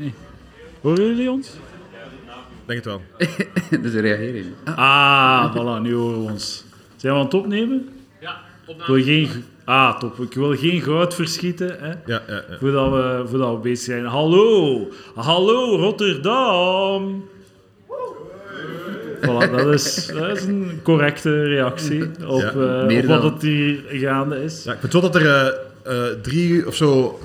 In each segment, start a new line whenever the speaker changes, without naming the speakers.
Nee. Horen jullie ons?
Denk het wel.
dus ze reageren niet. Ah,
Ah, voilà, nu horen we ons. Zijn we aan het opnemen?
Ja,
Ik
opname.
wil geen... Ah, top. Ik wil geen goud verschieten, hè,
Ja, ja, ja.
voordat, we, voordat we bezig zijn. Hallo! Hallo, Rotterdam! Voilà, dat is, dat is een correcte reactie op,
Ja,
eh,
meer
op wat
dan.
het hier gaande is.
ja ik vind wel dat er eh, eh, drie of zo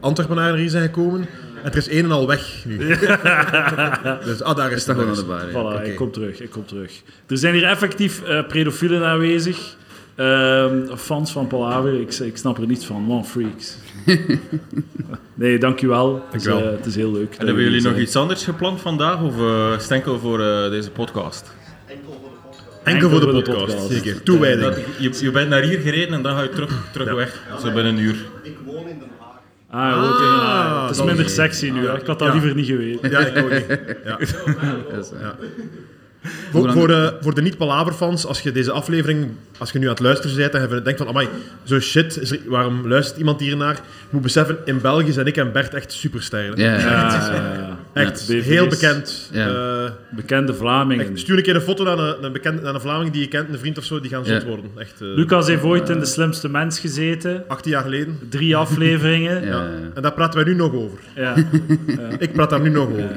Antwerpenaren hier zijn gekomen. En er is één en al weg nu. dus, ah, daar is
dat
het.
gewoon aan de bar. ja.
Voilà,
oké.
ik kom terug, ik kom terug. Er zijn hier effectief eh, pedofielen aanwezig. Ehm, fans van Palaver, ik, ik snap er niets van. Long freaks. nee, dankjewel. Het is, eh,
Dankjewel.
het is heel leuk.
En hebben jullie nog iets anders gepland vandaag of eh, is het enkel voor eh, deze podcast?
Enkel voor de podcast, zeker. Toewijding.
Dat, je, je bent naar hier gereden en dan ga je terug, terug weg, zo binnen een uur.
Ah, je woont in Den Haag.
Ah,
het is
dan-
minder sexy nu. hè. Ik had dat
Ja.
liever niet geweten.
Ja, ik ook niet. Ja.
Dat is, eh,
Voor, voor, de, voor de niet-palaver-fans, als je deze aflevering, als je nu aan het luisteren bent en je denkt van, amai, zo shit, is er- waarom luistert iemand hiernaar? Je moet beseffen, in België zijn ik en Bert echt supersterren.
Ja, ja.
Ja,
Echt,
Ja, BV's.
heel bekend.
Ja.
Eh,
Eh, bekende Vlamingen.
echt, stuur een keer een foto naar een, een bekende, naar een Vlaming die je kent, een vriend of zo, die gaan zot
Ja.
worden. Echt, eh,
Lucas heeft ooit in De Slimste Mens gezeten.
18 jaar geleden.
Drie afleveringen.
Ja, ja, ja.
En daar praten wij nu nog over.
Ja.
Ik praat daar nu nog over.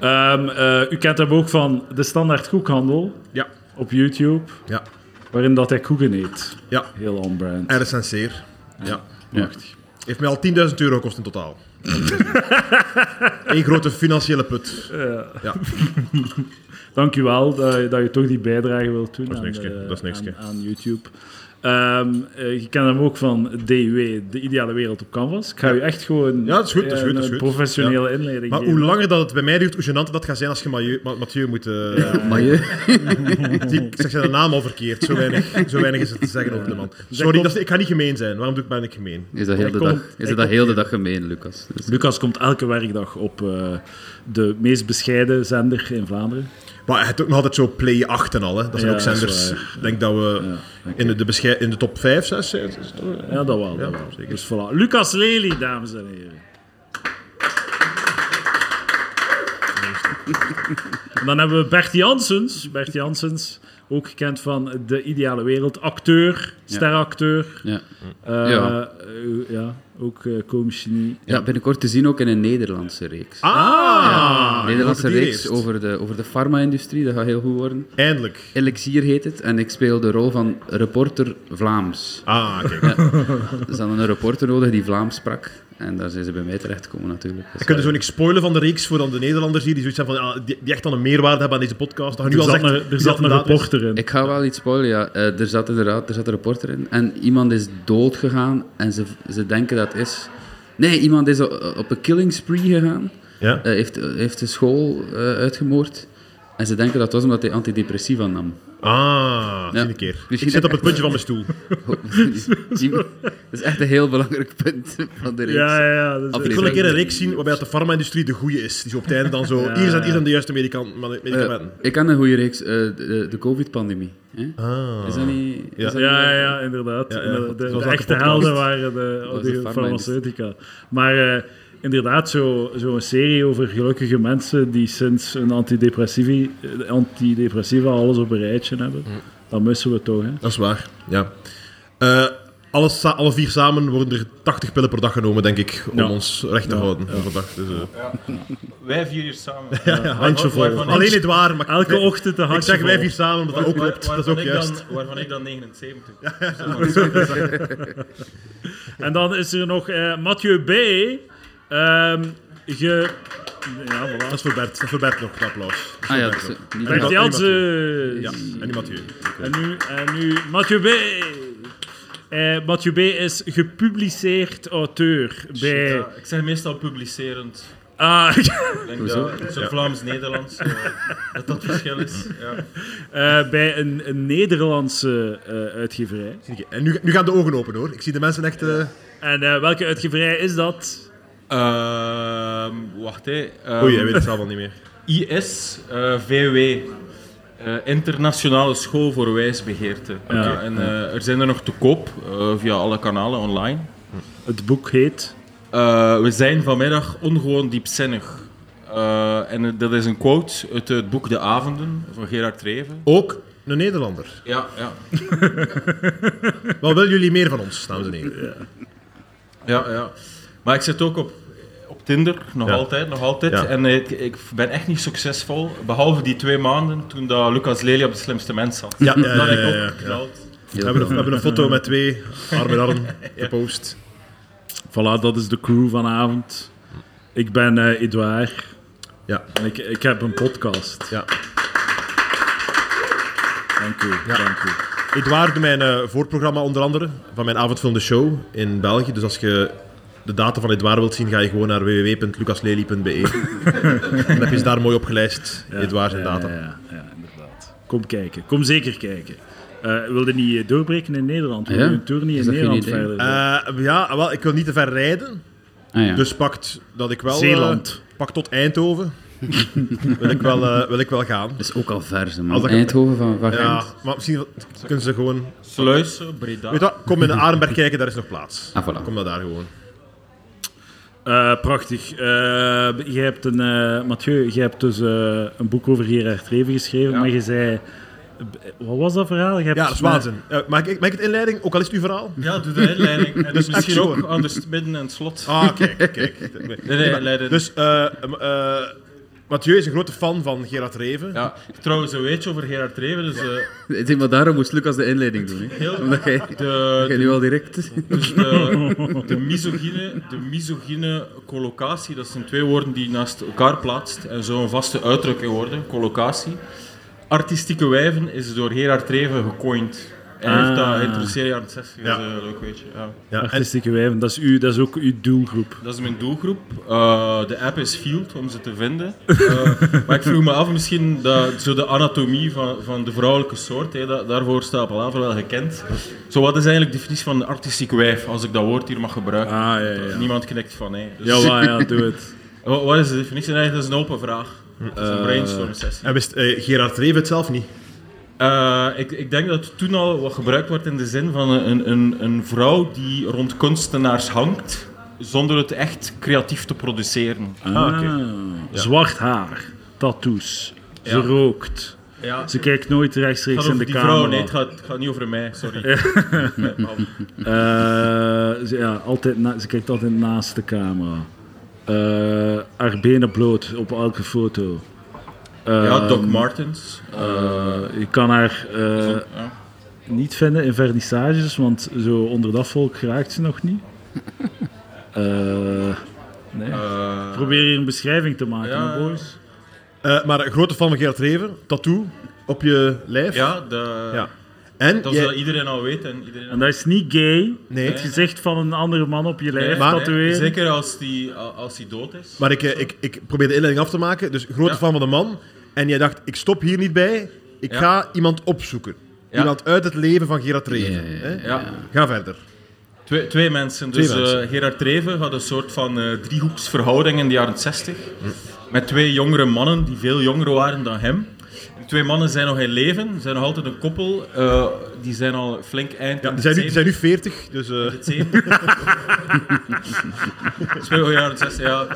Ehm, eh, u kent hem ook van De Standaard Koekhandel
Ja.
op YouTube.
Ja.
Waarin dat hij koeken eet.
Ja.
Heel on-brand.
En recenseer. Ja.
Prachtig.
Heeft mij al 10.000 euro gekost in totaal. Eén grote financiële put.
Dank u wel dat, je- dat je toch die bijdrage wilt doen
is
aan,
niks,
de-
hè. Dat is niks,
aan,
hè.
aan YouTube. Ehm, eh, je kent hem ook van DUW, De Ideale Wereld op Canvas. Ik ga u echt gewoon
Ja, dat is goed, dat is
eh,
goed, dat is
een
goed.
professionele inleiding
Maar hoe
geven.
langer dat het bij mij duurt, hoe gênanter dat gaat zijn als je Mathieu, Ma- Mathieu moet... eh,
Maar je...
die- ik zeg zijn naam al verkeerd. Zo weinig, zo weinig is er te zeggen over de man. Sorry,
komt-
dat is- ik ga niet gemeen zijn. Waarom doe ik, ben ik gemeen?
Is dat heel
Ik
de
kom-
dag, is
ik
dat dat heel de dag gemeen, Lucas? Dus-
Lucas komt elke werkdag op eh, de meest bescheiden zender in Vlaanderen.
Maar hij heeft ook nog altijd zo play 8 en al. Hè. Dat zijn
Ja,
ook
dat is
zenders.
waar.
Ik denk dat we in, de, de beschei- in de top 5, 6 zijn. Is het toch?
Ja, dat wel. dat wel.
zeker.
Dus voilà. Lucas Lely, dames en heren. En dan hebben we Bert Janssens. Bert Janssens, ook gekend van De Ideale Wereld. Acteur, steracteur.
Ja.
Eh,
Ja.
eh, ja, ook eh komisch genie.
ja, binnenkort te zien ook in een Nederlandse reeks.
Ah!
Een
ja.
Nederlandse
Die
reeks
heeft.
over de, over de farma-industrie, dat gaat heel goed worden.
Eindelijk.
Elixier heet het, en ik speel de rol van reporter Vlaams.
Ah, kijk.
Dus dan een reporter nodig die Vlaams sprak. En daar zijn ze bij mij terechtgekomen natuurlijk. Dus,
Dan kunnen
eh,
zo niks spoilen van de reeks voor dan de Nederlanders hier, die zoiets hebben van, ah, die, die echt dan een meerwaarde hebben aan deze podcast. Dat je nu
Er
al
zat,
zegt,
een,
die
er zat een
inderdaad is.
reporter in.
Ik ga wel iets spoilen, ja. Eh, er zat inderdaad er zat een reporter in. En iemand is dood gegaan en ze, ze denken dat is... Nee, iemand is o- op een killing spree gegaan.
Ja.
Eh, heeft, heeft de school eh, uitgemoord. En ze denken dat het was omdat hij antidepressiva nam.
Ah, zie
Ja.
een keer.
Misschien- Oh,
Ik zit op het puntje van mijn stoel.
dat is echt een heel belangrijk punt van de reeks.
Ja, ja, ja. dat is-
Ik
Aflevering.
wil een keer een reeks zien waarbij dat de farma-industrie de goede is. Die zo op het einde dan zo, hier zijn, hier zijn de juiste medikan-
Eh,
medicamenten.
ik ken een goede reeks, eh, de, de COVID-pandemie. hè?
ah.
Is dat niet...
Ja.
is dat
Ja,
niet-
ja, ja, inderdaad.
Ja, ja.
De, de-
Zoals
de
elke
echte
podcast.
helden waren de,
was
de,
de
farmaceutica. Maar eh, inderdaad, zo- zo'n serie over gelukkige mensen die sinds een antidepressivi, eh, antidepressiva alles op een rijtje hebben.
Mm.
Dat missen we toch, hè?
Dat is waar, ja. Eh, alles, sa- alle vier samen worden er 80 pillen per dag genomen, denk ik, om
Ja.
ons recht te houden overdag. Dus, eh,
Wij vier hier samen.
handjevol.
Waarvan ik-
Alleen het waar, maar
Elke ochtend een
ik
handje
zeg wij
vol.
vier samen, omdat dat ook
waar-
klopt. Dat is
waarvan
ook
ik
juist.
Dan, waarvan ik dan 79.
En dan is er nog eh, Mathieu B. Ehm ge... Ja,
Dat
voilà.
is voor Bert, dat is voor Bert nog, een applaus.
Ah ja, dat is, eh, niet
Bert
Mathieu.
Janssens.
Ja, en die Mathieu.
En nu, en nu Mathieu B. Eh, Mathieu B. is gepubliceerd auteur bij...
Ja, ik zeg meestal publicerend.
Ah,
Ik denk
Hoezo?
dat het zo Vlaams-Nederlands, eh, dat dat verschil is. Ja.
eh, bij een, een Nederlandse eh, uitgeverij.
En nu, nu gaan de ogen open hoor. Ik zie de mensen echt. eh,
En eh, welke uitgeverij is dat?
Ehm, wacht hé. Ehm,
Oei, hij weet het zelf al niet meer.
IS, eh, VW. eh, internationale School voor Wijsbegeerte. Ja, en eh, er zijn er nog te koop eh, via alle kanalen online.
Het boek heet...
Eh, we zijn vanmiddag ongewoon diepzinnig. Eh, en dat is een quote uit het boek De Avonden van Gerard Treven.
Ook een Nederlander.
Ja, ja.
Wat willen jullie meer van ons, dames en heren?
Ja, ja. Maar ik zit ook op, op Tinder, nog
Ja.
altijd, nog altijd.
Ja.
En eh, ik, ik ben echt niet succesvol, behalve die twee maanden toen dat Lucas Lely op de slimste mens zat.
Ja, ja,
dat had
ja,
ik ook
ja, ja.
geknald.
We hebben, een, we hebben een foto met twee arm in arm gepost.
Voilà, dat is de crew vanavond. Ik ben eh Edouard.
Ja.
En ik, ik heb een podcast.
Ja.
Dank u, dank u.
Edouard, doet mijn eh, voorprogramma onder andere, van mijn avondvullende show in België. Dus als je de data van Edouard wilt zien, ga je gewoon naar www.lucaslely.be. Dan heb je ze daar mooi opgelijst,
Ja,
Edouard zijn
ja,
data.
Ja, ja, ja, inderdaad. Kom kijken, kom zeker kijken. Eh wilde niet eh, doorbreken in Nederland? Wil
Ja?
je een tour niet
Is
in
dat geen
Nederland
idee?
verder?
Eh, ja, wel, ik wil niet te ver rijden,
Ah, ja.
dus pakt dat ik wel... eh,
Zeeland.
pak tot Eindhoven. wil, ik wel, eh, wil ik wel gaan.
Dat is ook al ver,
Als
ze, man.
dat-
Eindhoven van, van
Ja,
Gent.
maar misschien kunnen ze gewoon...
Sluis, Breda.
Weet je wat, kom in Arenberg kijken, daar is nog plaats.
Ah, voilà.
Kom naar daar gewoon.
Eh, prachtig. Eh jij hebt een, eh, Mathieu, jij hebt dus eh, een boek over Gerard Reven geschreven,
Ja.
maar je zei... eh, Wat was dat verhaal? Jij hebt
Ja, dat
dus met-
is waanzin. Eh, maak, ik, maak ik het inleiding, ook al is het uw verhaal?
Ja, doe de inleiding. En dus misschien
action.
ook anders midden en het slot.
Ah, kijk, kijk. Nee,
Nee, nee, leiden.
Dus eh, m- eh, Mathieu is een grote fan van Gerard Reven.
ja, trouwens, een weetje over Gerard Reven. Dus, eh,
Ik denk, maar daarom moest Lucas de inleiding doen. Hè.
heel,
Omdat jij,
de,
jij nu al direct...
Dus de, de, misogyne, de misogyne collocatie, dat zijn twee woorden die je naast elkaar plaatst en zo een vaste uitdrukking worden, collocatie. Artistieke wijven is door Gerard Treven gecoind. Hij heeft
Ah.
dat in de serie aan 60, dat is
Ja.
een leuk weetje. Ja.
Ja, en
Artistieke wijven, dat is, u, dat is ook uw doelgroep.
Dat is mijn doelgroep. Eh, de app is Field om ze te vinden. Eh, maar ik vroeg me af, misschien dat, zo de anatomie van, van de vrouwelijke soort, hè, dat, daarvoor staat Palaver wel gekend. Zo, wat is eigenlijk de definitie van een artistiek wijf, als ik dat woord hier mag gebruiken? Eh,
Ah, ja, ja. ja.
Niemand knikt van nee. Dus,
Jawel, ja, doe het.
wa- wat, is de definitie? Nee, dat is een open vraag. Dat is
Eh,
een brainstorm sessie.
en wist eh, Gerard Reven het zelf niet?
Eh, ik, ik denk dat het toen al wat gebruikt wordt in de zin van een, een, een vrouw die rond kunstenaars hangt, zonder het echt creatief te produceren.
Ah, Zwart haar, tattoos, ze
Ja.
rookt.
Ja,
Ze kijkt nooit
Het
rechtstreeks
gaat
in de
over die
camera.
vrouw, nee, het gaat, het gaat niet over mij, sorry. Nee, maar-
Eh, ze, ja, altijd na- ze kijkt altijd naast de camera. Eh, haar benen bloot op elke foto. Eh,
ja, Doc Martens.
eh, je kan haar eh,
ja.
niet vinden in vernissages, want zo onder dat volk geraakt ze nog niet. Eh, nee.
Eh,
Probeer hier een beschrijving te maken,
ja.
hè, boys.
Eh, maar een grote fan van Gerard Reven, tattoo op je lijf.
ja, de,
Ja. En
dat
jij-
zal iedereen al weten. En iedereen
En dat is niet gay.
Nee.
Het gezicht van een andere man op je lijf
Nee, nee,
tatoeëren.
Zeker als die, als die dood is.
maar ik, eh, ik, ik probeer de inleiding af te maken. Dus grote
Ja.
fan van de man. En jij dacht, ik stop hier niet bij. Ik
Ja.
ga iemand opzoeken.
Ja.
Iemand uit het leven van Gerard Reven.
Ja, ja, ja,
hè?
ja.
Ga verder.
Twee, twee mensen.
Twee
Dus eh,
mensen.
Gerard Treven had een soort van eh, driehoeksverhouding in de jaren 60. Met twee jongere mannen die veel jonger waren dan hem. Die twee mannen zijn nog in leven, zijn nog altijd een koppel. eh, die zijn al flink eind.
Ja,
in
die,
de
zijn nu, die
70.
zijn nu 40, dus... eh,
Het zeven. Speel ja, het zesde, ja.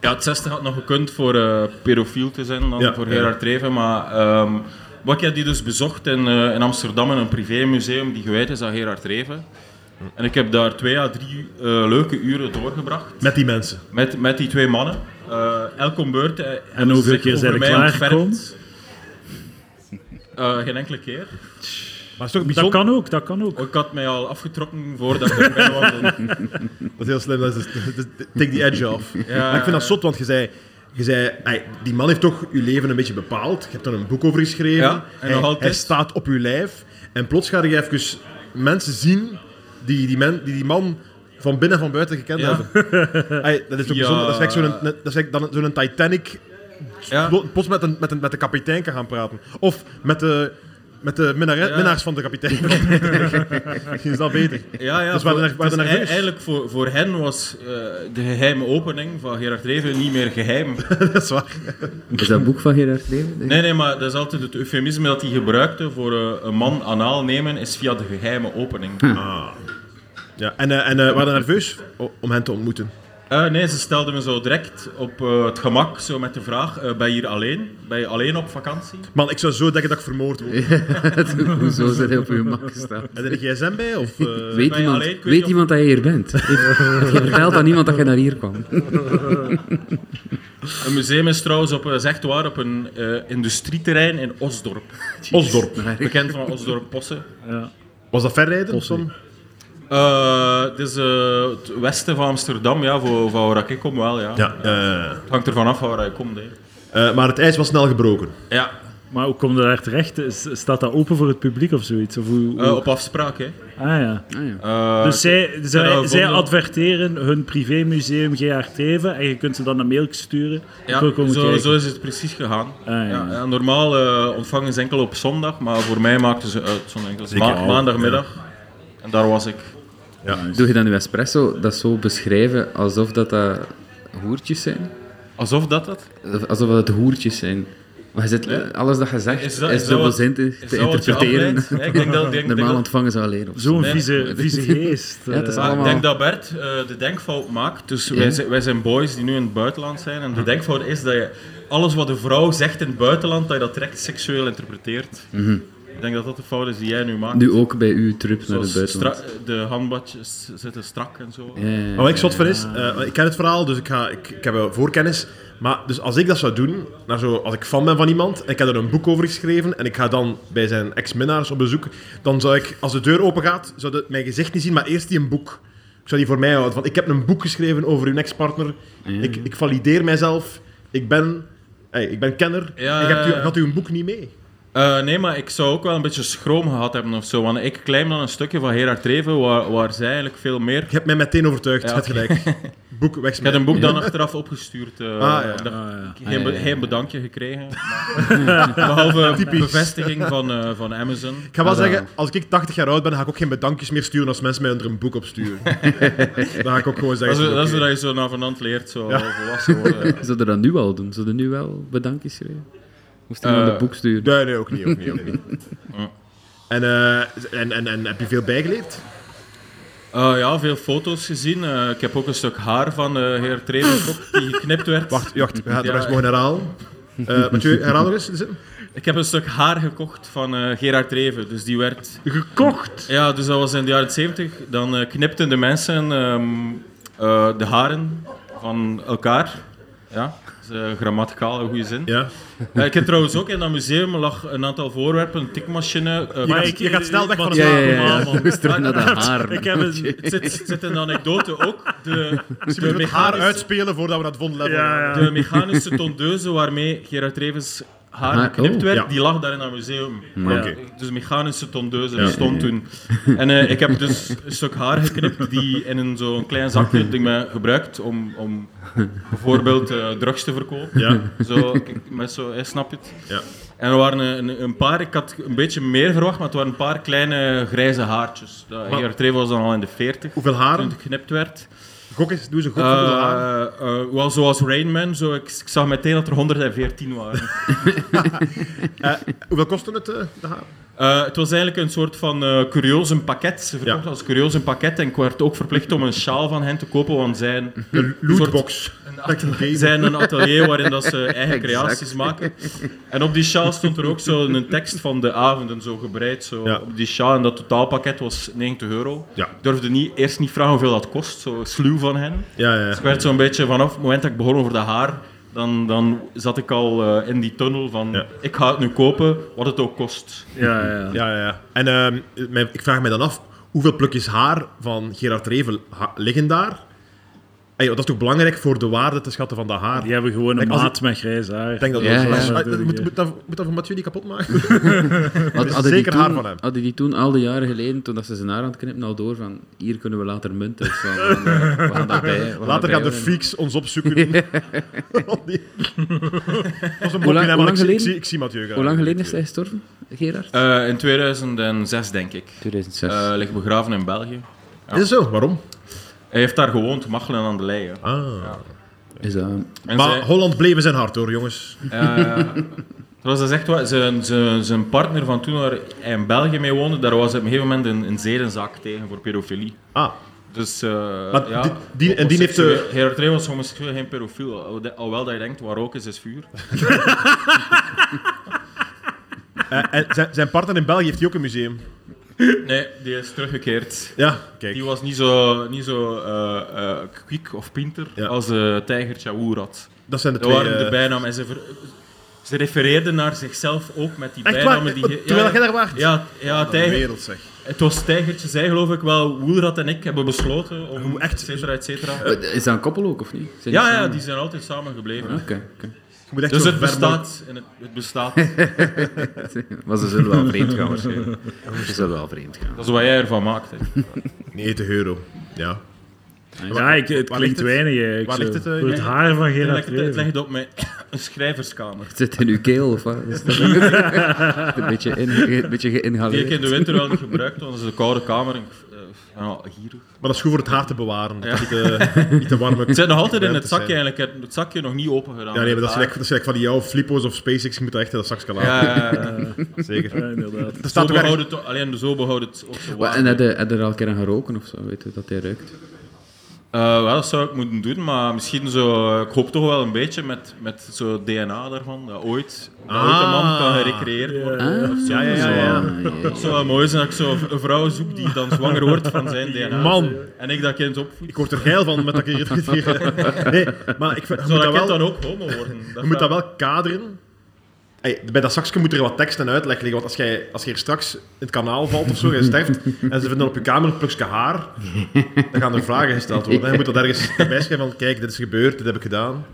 Ja, het zesde had nog gekund voor eh pedofiel te zijn dan
Ja,
voor
ja.
Gerard Treven, maar ehm wat ik heb die dus bezocht in, eh, in Amsterdam in een privémuseum die gewijd is aan Gerard Treven. En ik heb daar twee à drie eh, leuke uren doorgebracht
met die mensen.
met, met die twee mannen. Eh elk om beurt. eh,
hoeveel
hebben ze zich
keer
over
zijn er
mij
klaargekomen?
ontfermd. Eh, geen enkele keer.
Maar het is toch
Dat
bijzonder.
kan ook, dat kan ook.
Ik had mij al afgetrokken voordat ik erbij wandelde.
Dat is heel slim. Dat is, dat is- take the edge off.
Ja.
Maar ik vind dat zot, want je zei... Je zei, "Ey, die man heeft toch uw leven een beetje bepaald. Je hebt er een boek over geschreven.
Ja, en nog
hij,
altijd.
hij staat op uw lijf. En plots ga je even mensen zien die die, men, die, die man van binnen en van buiten gekend
Ja.
hebben. Ey, dat is toch
Ja.
bijzonder. Dat is echt zo'n dat is eigenlijk dan zo'n Titanic.
Ja.
plo- Plots met, een, met, een, met de kapitein kan gaan praten. Of met de, met de minnare-
Ja.
minnaars van de kapitein. Misschien is dat beter.
Ja, ja.
Dus we hadden
voor-
er- we hadden
dus
er
ei-
dus.
Eigenlijk voor, voor hen was eh, de geheime opening van Gerard Reven niet meer geheim.
dat is waar.
Is dat boek van Gerard Reven?
Nee, nee, maar dat is altijd het eufemisme
Hm.
dat hij gebruikte voor eh, een man anaal nemen, is via de geheime opening.
Ja. En, eh en eh, waren we nerveus o- om hen te ontmoeten?
Eh, nee, ze stelden me zo direct op eh, het gemak, zo met de vraag, eh, ben je hier alleen? Ben je alleen op vakantie?
Man, ik zou zo denken dat ik vermoord word.
Hoezo is dat heel op je gemak gestaan?
Heb je een gsm bij? Of, eh,
Weet
ben je
iemand,
alleen? Ik weet
weet
niet of-
iemand dat je hier bent? Heeft- je vertelt aan niemand dat je naar hier kwam.
Een museum is trouwens op, eh, is echt waar, op een eh, industrieterrein in Osdorp.
Osdorp.
Bekend van Osdorp Possen.
Ja.
was dat verrijden? Of
Posse.
zo?
Eh, het is eh, het westen van Amsterdam, ja, voor, van waar ik kom wel, ja.
Ja. eh,
Het hangt ervan af van waar je komt, hè.
eh, maar het ijs was snel gebroken.
Ja,
Maar hoe kom je daar terecht? Is- Staat dat open voor het publiek of zoiets? Of hoe,
eh,
hoe-
op afspraak, hè.
Ah ja.
Ah, ja.
Eh,
Dus zij, zij,
gevonden.
zij adverteren hun privémuseum GR Teven en je kunt ze dan een mail sturen. Ik wil
ja,
komen
zo,
kijken.
zo is het precies gegaan.
Ah, ja.
Ja, ja, normaal eh, ontvangen ze enkel op zondag, maar voor mij maakten ze uit zo'n enkel
Zeker.
Ma- maandagmiddag. En daar was ik.
Doe je dan je espresso dat zo beschrijven alsof dat, dat hoertjes zijn?
Alsof dat het.
Of Alsof dat het hoertjes zijn. Maar je zit, alles dat je zegt
Is
is,
dat- is dat
dubbelzin te,
Is
te
dat wat je
interpreteren.
afleidt? Ja, ik denk dat, ik denk,
Normaal
denk dat,
ontvangen ze alleen. of zo.
Zo'n
Nee.
vieze, vieze geest.
Ja,
eh.
het is
maar Ah, ik
allemaal-
denk dat Bert eh, de denkfout maakt. Dus wij,
Ja.
zijn- wij zijn boys die nu in het buitenland zijn. En de denkfout is dat je alles wat een vrouw zegt in het buitenland, dat je dat direct seksueel interpreteert. Ik denk dat dat de fout is die jij nu maakt.
Nu Mhm. ook bij uw trip naar het
Zoals
buitenland.
stra- de handbadjes zitten strak en zo.
Ja, ja, ja.
Maar wat ik zot van is, eh, ik ken het verhaal, dus ik, ga, ik, ik heb wel voorkennis. Maar dus als ik dat zou doen, naar zo, als ik fan ben van iemand, en ik heb er een boek over geschreven, en ik ga dan bij zijn ex-minnaars op bezoek, dan zou ik, als de deur open gaat, zou de- mijn gezicht niet zien, maar eerst die een boek. Ik zou die voor mij houden, van ik heb een boek geschreven over uw ex-partner, ik, ik valideer mijzelf, ik ben, hey, ik ben kenner,
Ja,
ik heb u,
ja, ja.
had u een boek niet mee.
Eh, nee, maar ik zou ook wel een beetje schroom gehad hebben of zo. Want ik claim dan een stukje van Gerard Treven waar, waar zij eigenlijk veel meer.
Je hebt mij meteen overtuigd,
Ja,
je hebt gelijk. boek
Ik had
wegsmijten.
een boek dan achteraf opgestuurd. eh,
Ah, ja.
Ah,
dat-
ja.
Geen, be-
Ah, ja, ja,
geen bedankje gekregen. maar- Behalve bevestiging van, eh, van Amazon.
Ik ga wel
Ah, ja.
zeggen, als ik 80 jaar oud ben, ga ik ook geen bedankjes meer sturen als mensen mij onder een boek opsturen. dan ga ik ook gewoon
Dat is,
zeggen...
dat is
oké.
wat je zo na vanand leert, zo eh, volwassen worden.
Zouden we dat nu al doen? Zouden we nu wel bedankjes schrijven? Moest iemand
Eh,
een boek sturen?
Nee, nee, ook niet. Ook niet, ook niet.
Ja.
En, eh, en, en, en heb je veel bijgeleerd?
Eh, ja, veel foto's gezien. Eh, ik heb ook een stuk haar van eh Heer Treven gekocht die geknipt werd.
Wacht, wacht, we gaan het
Ja.
nog eens mogen herhalen. Eh Mathieu, herhaal nog eens. de zin.
Ik heb een stuk haar gekocht van eh Gerard Treven. Dus die werd
Gekocht!
Ja, dus dat was in de jaren 70. Dan eh, knipten de mensen ehm, eh, de haren van elkaar. Ja, dat is eh, grammaticaal een goede zin.
Ja.
Eh, ik heb trouwens ook in dat museum lag een aantal voorwerpen, een tikmachine. eh,
Maar
maar
ik- je gaat snel weg van
want-
het
Ja, ja, ja.
normaal,
ja.
man.
Moest terug
Ah,
naar de haar.
Ik heb een...
het zit, het zit in de anekdote ook. De,
Je
de,
moet het haar
mechanische,
uitspelen voordat we naar het vond level
Ja,
gaan.
ja.
de mechanische tondeuze waarmee Gerard Revens haar
Ah,
geknipt
oh.
werd,
Ja.
die lag daar in dat museum.
Maar-
Oké.
Dus mechanische tondeuze bestond toen. En eh, ik heb dus een stuk haar geknipt die in een zo'n klein zakje ding me gebruikt om, om bijvoorbeeld eh, drugs te verkopen.
Ja.
Zo, kijk, met zo, eh, snap je het?
Ja.
En er waren een, een paar, ik had een beetje meer verwacht, maar het waren een paar kleine grijze haartjes. Dat-
Maar-
Gerard Treven was dan al in de 40
Hoeveel
toen
haren?
het geknipt werd.
Gok eens, doe eens een gok voor hoeveel haren.
Eh, eh, wel zoals Rain Man, zo, ik, ik zag meteen dat er 114 waren.
Hoeveel kostte het, eh, de haar?
Eh, het was eigenlijk een soort van eh curiosenpakket. Ze verkocht
Ja.
als curiosenpakket en ik werd ook verplicht om een sjaal van hen te kopen, want zijn
Een lootbox. Oké.
zijn een atelier waarin dat ze eigen
Exact.
creaties maken. En op die sjaal stond er ook zo een tekst van de avonden zo gebreid zo
Ja.
op die sjaal. En dat totaalpakket was 90 euro.
Ja.
Ik durfde niet, eerst niet vragen hoeveel dat kost, zo sluw van hen.
Ja, ja, ja.
Dus ik werd zo'n beetje vanaf het moment dat ik begon over de haar, dan, dan zat ik al eh, in die tunnel van
Ja.
ik ga het nu kopen, wat het ook kost.
Ja, ja.
Ja, ja, ja. En ehm, mijn- ik vraag me dan af, hoeveel plukjes haar van Gerard Revel ha- liggen daar? Ey, dat is toch belangrijk voor de waarde te schatten van dat haar?
Die hebben gewoon een
Kijk, als
maat met grijs haar.
Ik denk dat
Ja,
dat
ja.
zo is. Ah, dat moet, moet, dat, moet dat voor Mathieu niet kapot maken?
Had,
is
hadden
zeker
die toen,
haar van hem.
Hadden die toen al die jaren geleden, toen dat ze zijn haar aan het knippen, al door van hier kunnen we later munten. Van, van, eh, we gaan daarbij, we
Later
gaan daarbij
gaan de
houden.
freaks ons opzoeken. Al die- dat was een mopje,
Hoe
hè, maar
lang- hoe
ik
lang
zie- ik,
geleden?
zie, ik zie Mathieu gaan.
Hoe lang geleden is hij gestorven, Gerard?
Eh, in 2006 denk ik.
2006.
Eh, ligt begraven in België.
Is het zo? Waarom?
Hij heeft daar gewoond, Machelen aan de Leie.
Ah.
is dat...
En
Maar
zij-
Holland bleven zijn hart hoor, jongens.
eh, Dat was dus echt wat, zijn, zijn, zijn partner van toen waar hij in België mee woonde, daar was op een gegeven moment een, een zedenzak tegen voor pedofilie.
Ah,
Dus eh,
Maar
ja,
die- die- en die heeft, eh,
homoseksueel- Gerard Rey was homoseksueel, geen pedofiel. Al- de- Alhoewel dat je denkt, waar rook is, is vuur.
eh, en zijn, zijn partner in België heeft hij ook een museum.
Nee, die is teruggekeerd.
Ja, kijk.
Die was niet zo, niet zo eh, eh, kwik of pinter
Ja.
als eh Tijger Chawoer had.
Dat zijn de
Dat
twee...
waren de
eh,
bijnamen. En ze, ver- ze refereerden naar zichzelf ook met die
Echt waar? Oh,
bijnamen. Die ge-
Terwijl
ja,
jij daar waart?
ja, ja,
de
Tijger,
wereld, zeg.
het was Tijgertje, zij geloof ik wel. Woelrad en ik hebben besloten om,
echt-
et cetera, et cetera.
Is dat een koppel ook, of niet? Zijn
Ja, ja,
samen?
die zijn altijd samen gebleven.
Oké, oké.
Je moet echt
Dus
zo
het
ver mogelijk-
bestaat, en het, het bestaat.
Maar ze zullen wel vreemd gaan waarschijnlijk. Ze zullen wel vreemd gaan.
Dat is wat jij ervan maakt. Hè.
Nee, de euro. Ja.
Ja, ik, het
waar
klinkt
ligt het?
weinig eigenlijk.
Waar
zo.
ligt het, eh,
Voor het
jij?
haar van
Het
Gerard
ligt- Het
Reven.
ligt op mijn een schrijverskamer.
Het zit in uw keel, of wat? Is dat een beetje, in, een beetje
Die ik in
geïnhaleerd.
de winter wel niet gebruikt, want dat is een koude kamer. En, ik- eh, ja, hier.
Maar dat is goed voor het haar te bewaren. Dat is niet, eh, niet te warm.
Het zit nog altijd in het
Ruimtes zijn.
zakje eigenlijk. Ik heb het zakje nog niet open gedaan. Ah,
Ja, nee, maar dat is gelijk- dat is gelijk van die jouw Flippo's of SpaceX. Je moet dat echt in dat zakje laten.
Ja, ja, ja.
Zeker.
Ja, inderdaad.
Er
eh, Zo
staat ook ergens-
behoudt het- alleen zo behoudt het ook zo
Wat,
warm.
En heb je, heb je er al een keer aan geroken of zo? Weet je dat hij ruikt?
Eh, wel, dat zou ik moeten doen, maar misschien zo... Ik hoop toch wel een beetje met, met zo DNA daarvan, dat ooit, dat ooit een man kan gerecreëerd worden.
Ah,
Zo-
Ja, ja, ja.
zo-
ja.
Het zou wel mooi zijn dat ik zo een vrouw zoek die dan zwanger wordt van zijn DNA.
Man.
En ik dat kind opvoed.
Ik word er geil van met dat ik hier... hier- Nee, maar ik vind, je
Zou
moet
dat
dat
kind
wel,
dan ook homo worden?
je moet dat wel kaderen. Hey, bij dat zakje moet er wat tekst en uitleg liggen. Want als jij als je hier straks in het kanaal valt of zo, jij sterft, en ze vinden op je kamer een plukje haar, dan gaan er vragen gesteld worden. Je moet dat ergens bij schrijven van, kijk, dit is gebeurd, dit heb ik gedaan.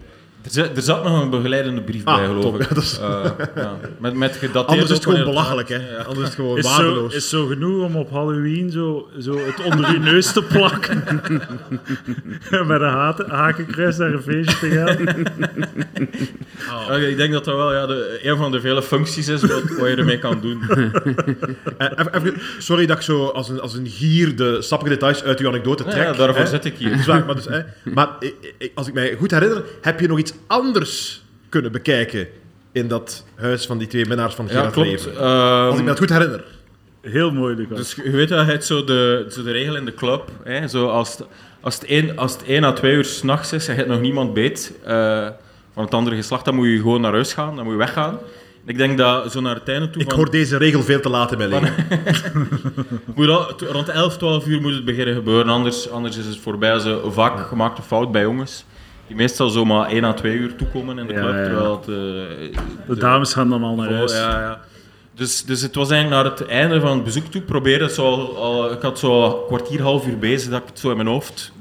Er zat, er zat nog een begeleidende brief
Ah,
bij, geloof
top.
ik.
Ja, dat is-
Eh, ja. Met, met gedateerd
Anders is het
ook
gewoon
wanneer
belachelijk, hè. Anders is het gewoon
Is zo,
waardeloos.
is zo genoeg om op Halloween zo, zo het onder je neus te plakken. En Met een haat- hakenkruis naar een feestje te gaan.
Ja, Eh, ik denk dat dat wel ja, de, een van de vele functies is wat, wat je ermee kan doen.
Eh, even- even- sorry dat ik zo als een, als een gier de sappige details uit uw anekdote
Ja,
trek.
ja, daarvoor
hè.
zit ik
Het
hier.
is waar, maar, dus, hè, maar ik- ik- als ik mij goed herinner, heb je nog iets anders kunnen bekijken in dat huis van die twee minnaars van
Ja,
Gerard
klopt.
Reven?
Ehm,
Als ik me dat goed herinner.
Heel moeilijk. hoor.
dus je weet wel, je hebt zo de, zo de regel in de club. Hè, zo als, het- als, het één, als het één à twee uur s'nachts is en je hebt nog niemand beet eh, van het andere geslacht, dan moet je gewoon naar huis gaan, dan moet je weggaan. Ik denk dat zo naar het einde toe...
Ik
van-
hoor deze regel veel te laat in mijn leven.
Moet al- t- rond 11, 12 uur moet het beginnen gebeuren, anders, anders is het voorbij. Dat is een vaak gemaakte fout bij jongens, die meestal zomaar 1 à 2 uur toekomen in de
Ja,
club,
ja.
terwijl het... eh,
De dames gaan dan al naar
vol-
huis.
ja, ja. Dus, dus het was eigenlijk naar het einde van het bezoek toe proberen. het Zo al, al- ik had zo een kwartier, half uur bezig dat ik het zo in mijn hoofd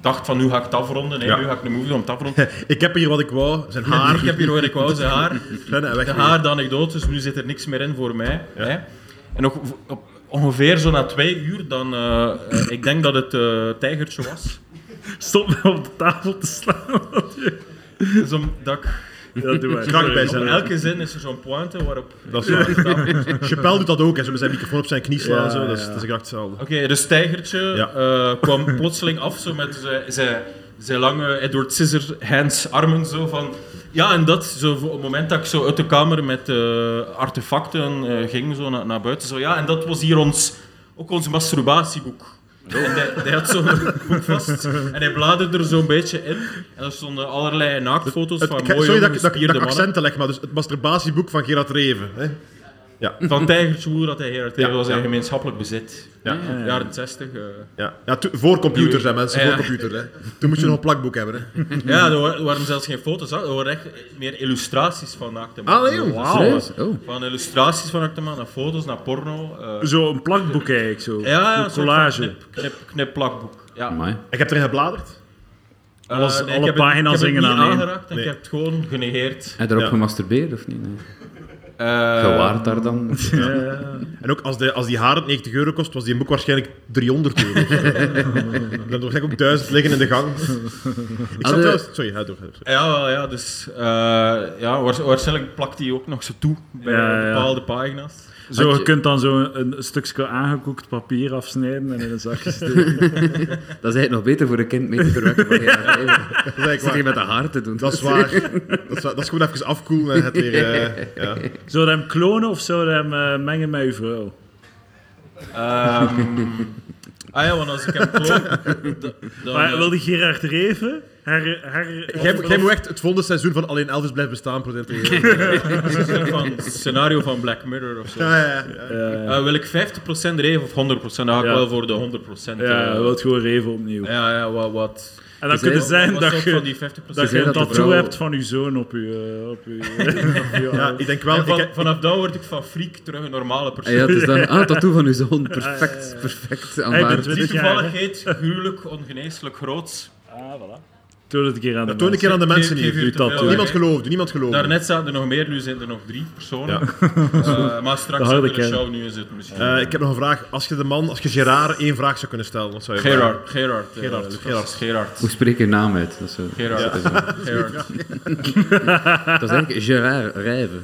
dacht van nu ga ik het afronden, nee,
Ja.
nu ga ik de move doen om het af te ronden.
Ik heb hier wat ik wou, zijn haar.
Ik heb hier hoor ik wou zijn haar.
rennen en weg
De
mee.
haar, de anekdotes, dus nu zit er niks meer in voor mij. Hè? En nog v- op ongeveer zo na twee uur, dan, eh, eh, ik denk dat het eh, tijgertje was.
Stop me op de tafel te slaan.
Dus om- dat ik-
Dat doe ik.
Krak bij
op
zijn.
elke zin is er zo'n pointe waarop...
Dat is waar. Chappelle doet dat ook, hè, zo met zijn microfoon op zijn knie slaan.
Ja,
zo. Dat, is,
ja.
dat is exact hetzelfde.
Oké, dus tijgertje
Ja.
eh, kwam plotseling af zo met zijn- zijn- zijn lange Edward Scissorhands armen zo van... Ja, en dat, zo, voor- op het moment dat ik zo uit de kamer met eh, artefacten eh, ging, zo naar, naar buiten, zo ja, en dat was hier ons, ook ons masturbatieboek.
Oh.
En hij, hij had zo'n boek vast en hij bladerde er zo'n beetje in. En er stonden allerlei naaktfoto's
Het-
van
ik-
mooie,
sorry dat ik, dat, ik-
gespierde
dat ik
mannen.
accenten leg, maar dus het masturbatieboek van Gerard Reven. Hè?
Van tijgertje hoe dat hij hier uit
Ja,
was zijn
ja.
gemeenschappelijk bezit.
Ja.
Jaren 60. eh.
Ja, ja to- voor computers, hè, mensen.
Ja.
Voor computers, hè. Toen moest je nog een plakboek hebben, hè.
Ja, er wa- er waren zelfs geen foto's, hè. er waren echt meer illustraties van naakte
Ah,
mannen.
Allee, jong.
Serieus? Oh.
Van illustraties van naakte mannen, naar foto's, naar porno. eh.
Zo een plakboek eigenlijk. Zo.
ja,
een
een soort
Dus collage.
van Knip, knip, knip plakboek. Ja.
Amai.
Ik heb erin gebladerd.
Eh,
Alles-
nee, ik
alle
heb het-
pagina's
Ik heb
hingen
het
aan
niet
één.
aangeraakt en
Nee.
ik heb het gewoon genegeerd.
Heb je erop
Ja.
gemasturbeerd of niet? Nee.
Eh,
Gewaard daar dan?
Ja.
En ook als, de, als die haren 90 euro kost, was die een boek waarschijnlijk 300 euro. Ik heb er waarschijnlijk ook 1000 liggen in de gang. Ik zat
Hadden-
trouwens... Sorry, ga door. ga door.
Ja, wel, ja, dus eh, ja, waars- waarschijnlijk plakt hij ook nog zo toe bij
Ja, ja, ja.
bepaalde pagina's.
Zo,
Had
je...
je-
kunt dan zo een, een stukje aangekookt papier afsnijden en in een zakje steken.
Dat is eigenlijk nog beter voor een kind mee te verwekken. van, ja, hey,
Dat is
Ik zit
eigenlijk
hier
waar.
met de haar te doen.
Dat is waar. Dat is, waar. Dat is gewoon even afkoelen en het weer... eh, ja.
zou je hem klonen of zou je hem eh, mengen met je vrouw?
Ehm, ah ja, want als ik hem kloon... d- dan,
maar,
eh,
wil die Gerard Reven? Haar, haar,
Jij,
of-
jij moet echt het volgende seizoen van Alleen Elvis blijft bestaan presenteren.
dat is een soort van scenario van Black Mirror of zo.
Ja, ja, ja.
Ja,
Eh, wil ik 50% reven of 100%? Dan ga ik
Ja.
wel voor de 100%. eh,
ja, wil gewoon Reven opnieuw.
ja, ja, wat... wat
En dan kun je
zei-
zijn
wat
dat
is er van
je,
die 50%?
dat je
zei
een
dat de
tattoo
vrouw-
hebt van je zoon op je... eh, Op je, op je
Ja,
arm.
ik denk wel...
En
Ik,
van-
heb-
vanaf dan word ik van freak terug een normale persoon.
Ja, dus dan, ah, tattoo van uw zoon. Perfect, perfect. Aanvaard.
bent-
Die
20 jaar,
toevalligheid, gruwelijk, ongeneeslijk groot.
Ah, voilà. Toon het een keer aan de
toon een keer aan de
Geef-
mensen
geef
hier.
u te veel
tattoo.
weg.
Niemand geloofde, niemand geloofde.
Daarnet zaten er nog meer, nu zijn er nog drie personen.
Ja.
Eh, maar straks
harde
hebben we de
kern.
show, nu is het misschien.
Eh, ik heb nog een vraag. Als je de man, als je Gerard één vraag zou kunnen stellen, wat zou je vragen?
Gerard, Gerard. eh,
Gerard,
Lucas,
Gerard.
Gerard.
Hoe spreek je naam uit? Dat is, zo-
Gerard.
dat is, zo.
Gerard.
dat is eigenlijk Gerard Rijven.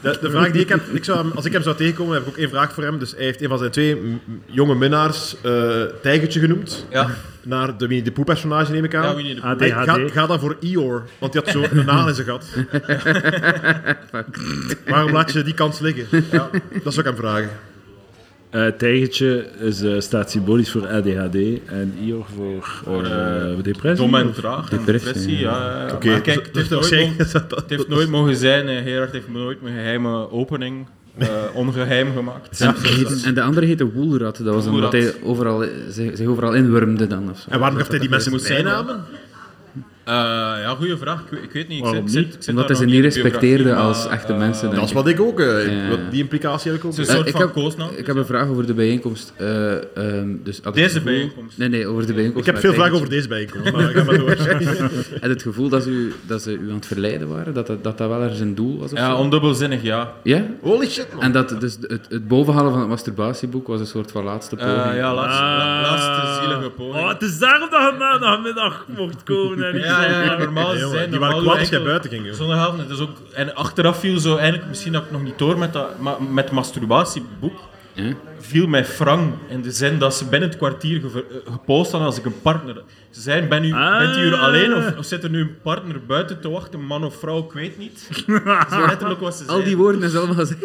De, de vraag die ik heb, ik zou hem- als ik hem zou tegenkomen, heb ik ook één vraag voor hem. Dus hij heeft een van zijn twee m- jonge minnaars eh Tijgertje genoemd.
Ja,
Naar de Winnie de Pooh personage, neem ik aan.
ja, Winnie de Pooh.
ADHD.
Hey, ga, ga dan voor Ior, want die had zo een naal in zijn gat. Waarom laat je die kans liggen? Ja, dat zou ik hem vragen.
Eh, tijgertje is, eh, staat symbolisch voor ADHD en Ior voor, voor
eh,
depressie.
Dom en traag. en
Depressie,
Depressie, ja. ja, ja.
Oké, dus
Maar kijk, het heeft, nooit mogen,
waarschijnlijk- dat-
het heeft nooit mogen zijn. eh, Gerard heeft nooit mijn geheime opening eh, ongeheim gemaakt.
En, en de andere heette Woelrad. Dat was omdat
Woelrad.
hij overal, zich, zich overal inwurmde dan. Of zo.
En waarom heeft hij die mensen
moet zijn,
bijnamen?
Eh, ja, goede vraag. Ik, weet- ik weet niet. Ik
Waarom
zit, zit-
niet?
ik zit
Omdat
daar
hij ze
nog
niet
in de biografie,
respecteerde
maar,
als echte
eh,
mensen. denk
Dat is
ik.
wat ik ook, eh,
Ja.
wat- die implicatie heb ik ook.
Het is een
Eh,
soort
ik
van
heb-
koosnaam.
Ik heb een vraag over de bijeenkomst. eh, ehm, dus had ik
Deze
het gevoel-
bijeenkomst?
Nee, nee, over de bijeenkomst.
Ik heb
waar
veel vragen
Tijgertje-
over deze bijeenkomst, maar ga maar door.
Had het gevoel dat ze, u, dat ze u aan het verleiden waren? Dat dat, dat dat wel ergens een doel was? Of
Ja,
zo?
ondubbelzinnig, ja.
ja?
Holy shit, man.
En dat dus het, het bovenhalen van het masturbatieboek was een soort van laatste poging.
Eh, ja, laatste, la-
Ah.
laatste zielige poging.
Oh, het is daarom dat je maandagmiddag mocht komen. En
Ja, ja, ja, normaal
Nee, jongen,
zijn
die waren
normaal
kwaad als
enkel
jij buiten ging, joh.
Zondagavond, het is ook... En achteraf viel zo eigenlijk, misschien had ik nog niet door met dat ma- met masturbatieboek,
Ja.
viel mij Frank in de zin dat ze binnen het kwartier geve- eh, gepost hadden als ik een partner... Ze zeiden, ben u,
Ah.
bent u hier alleen of, of zit er nu een partner buiten te wachten, man of vrouw, ik weet niet. Zo letterlijk was ze
Al die
zeiden.
woorden is allemaal gezegd.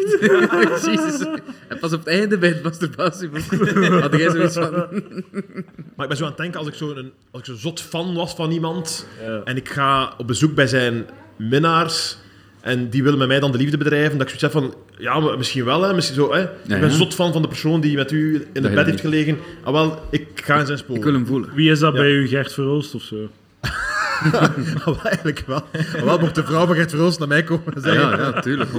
Jezus. En pas op het einde bij het masturbatieboek had jij zoiets van...
Maar ik ben zo aan het denken, als ik zo'n als ik zo'n zot fan was van iemand en ik ga op bezoek bij zijn minnaars en die willen met mij dan de liefde bedrijven, dat ik zoiets heb van, ja, maar misschien wel, hè, misschien zo. Hè. ik ben
ja.
zot fan van de persoon die met u in
je
het
dat
bed heeft
niet-
gelegen. Ah, wel, ik ga in zijn spoor.
Ik wil hem voelen.
Wie is dat bij u, Gert Verhulst of zo?
Ah, wel, eigenlijk wel. Ah, wel, mocht de vrouw van Gert Verhulst naar mij komen en
Ja,
zeggen...
ja, ja, tuurlijk, 100%.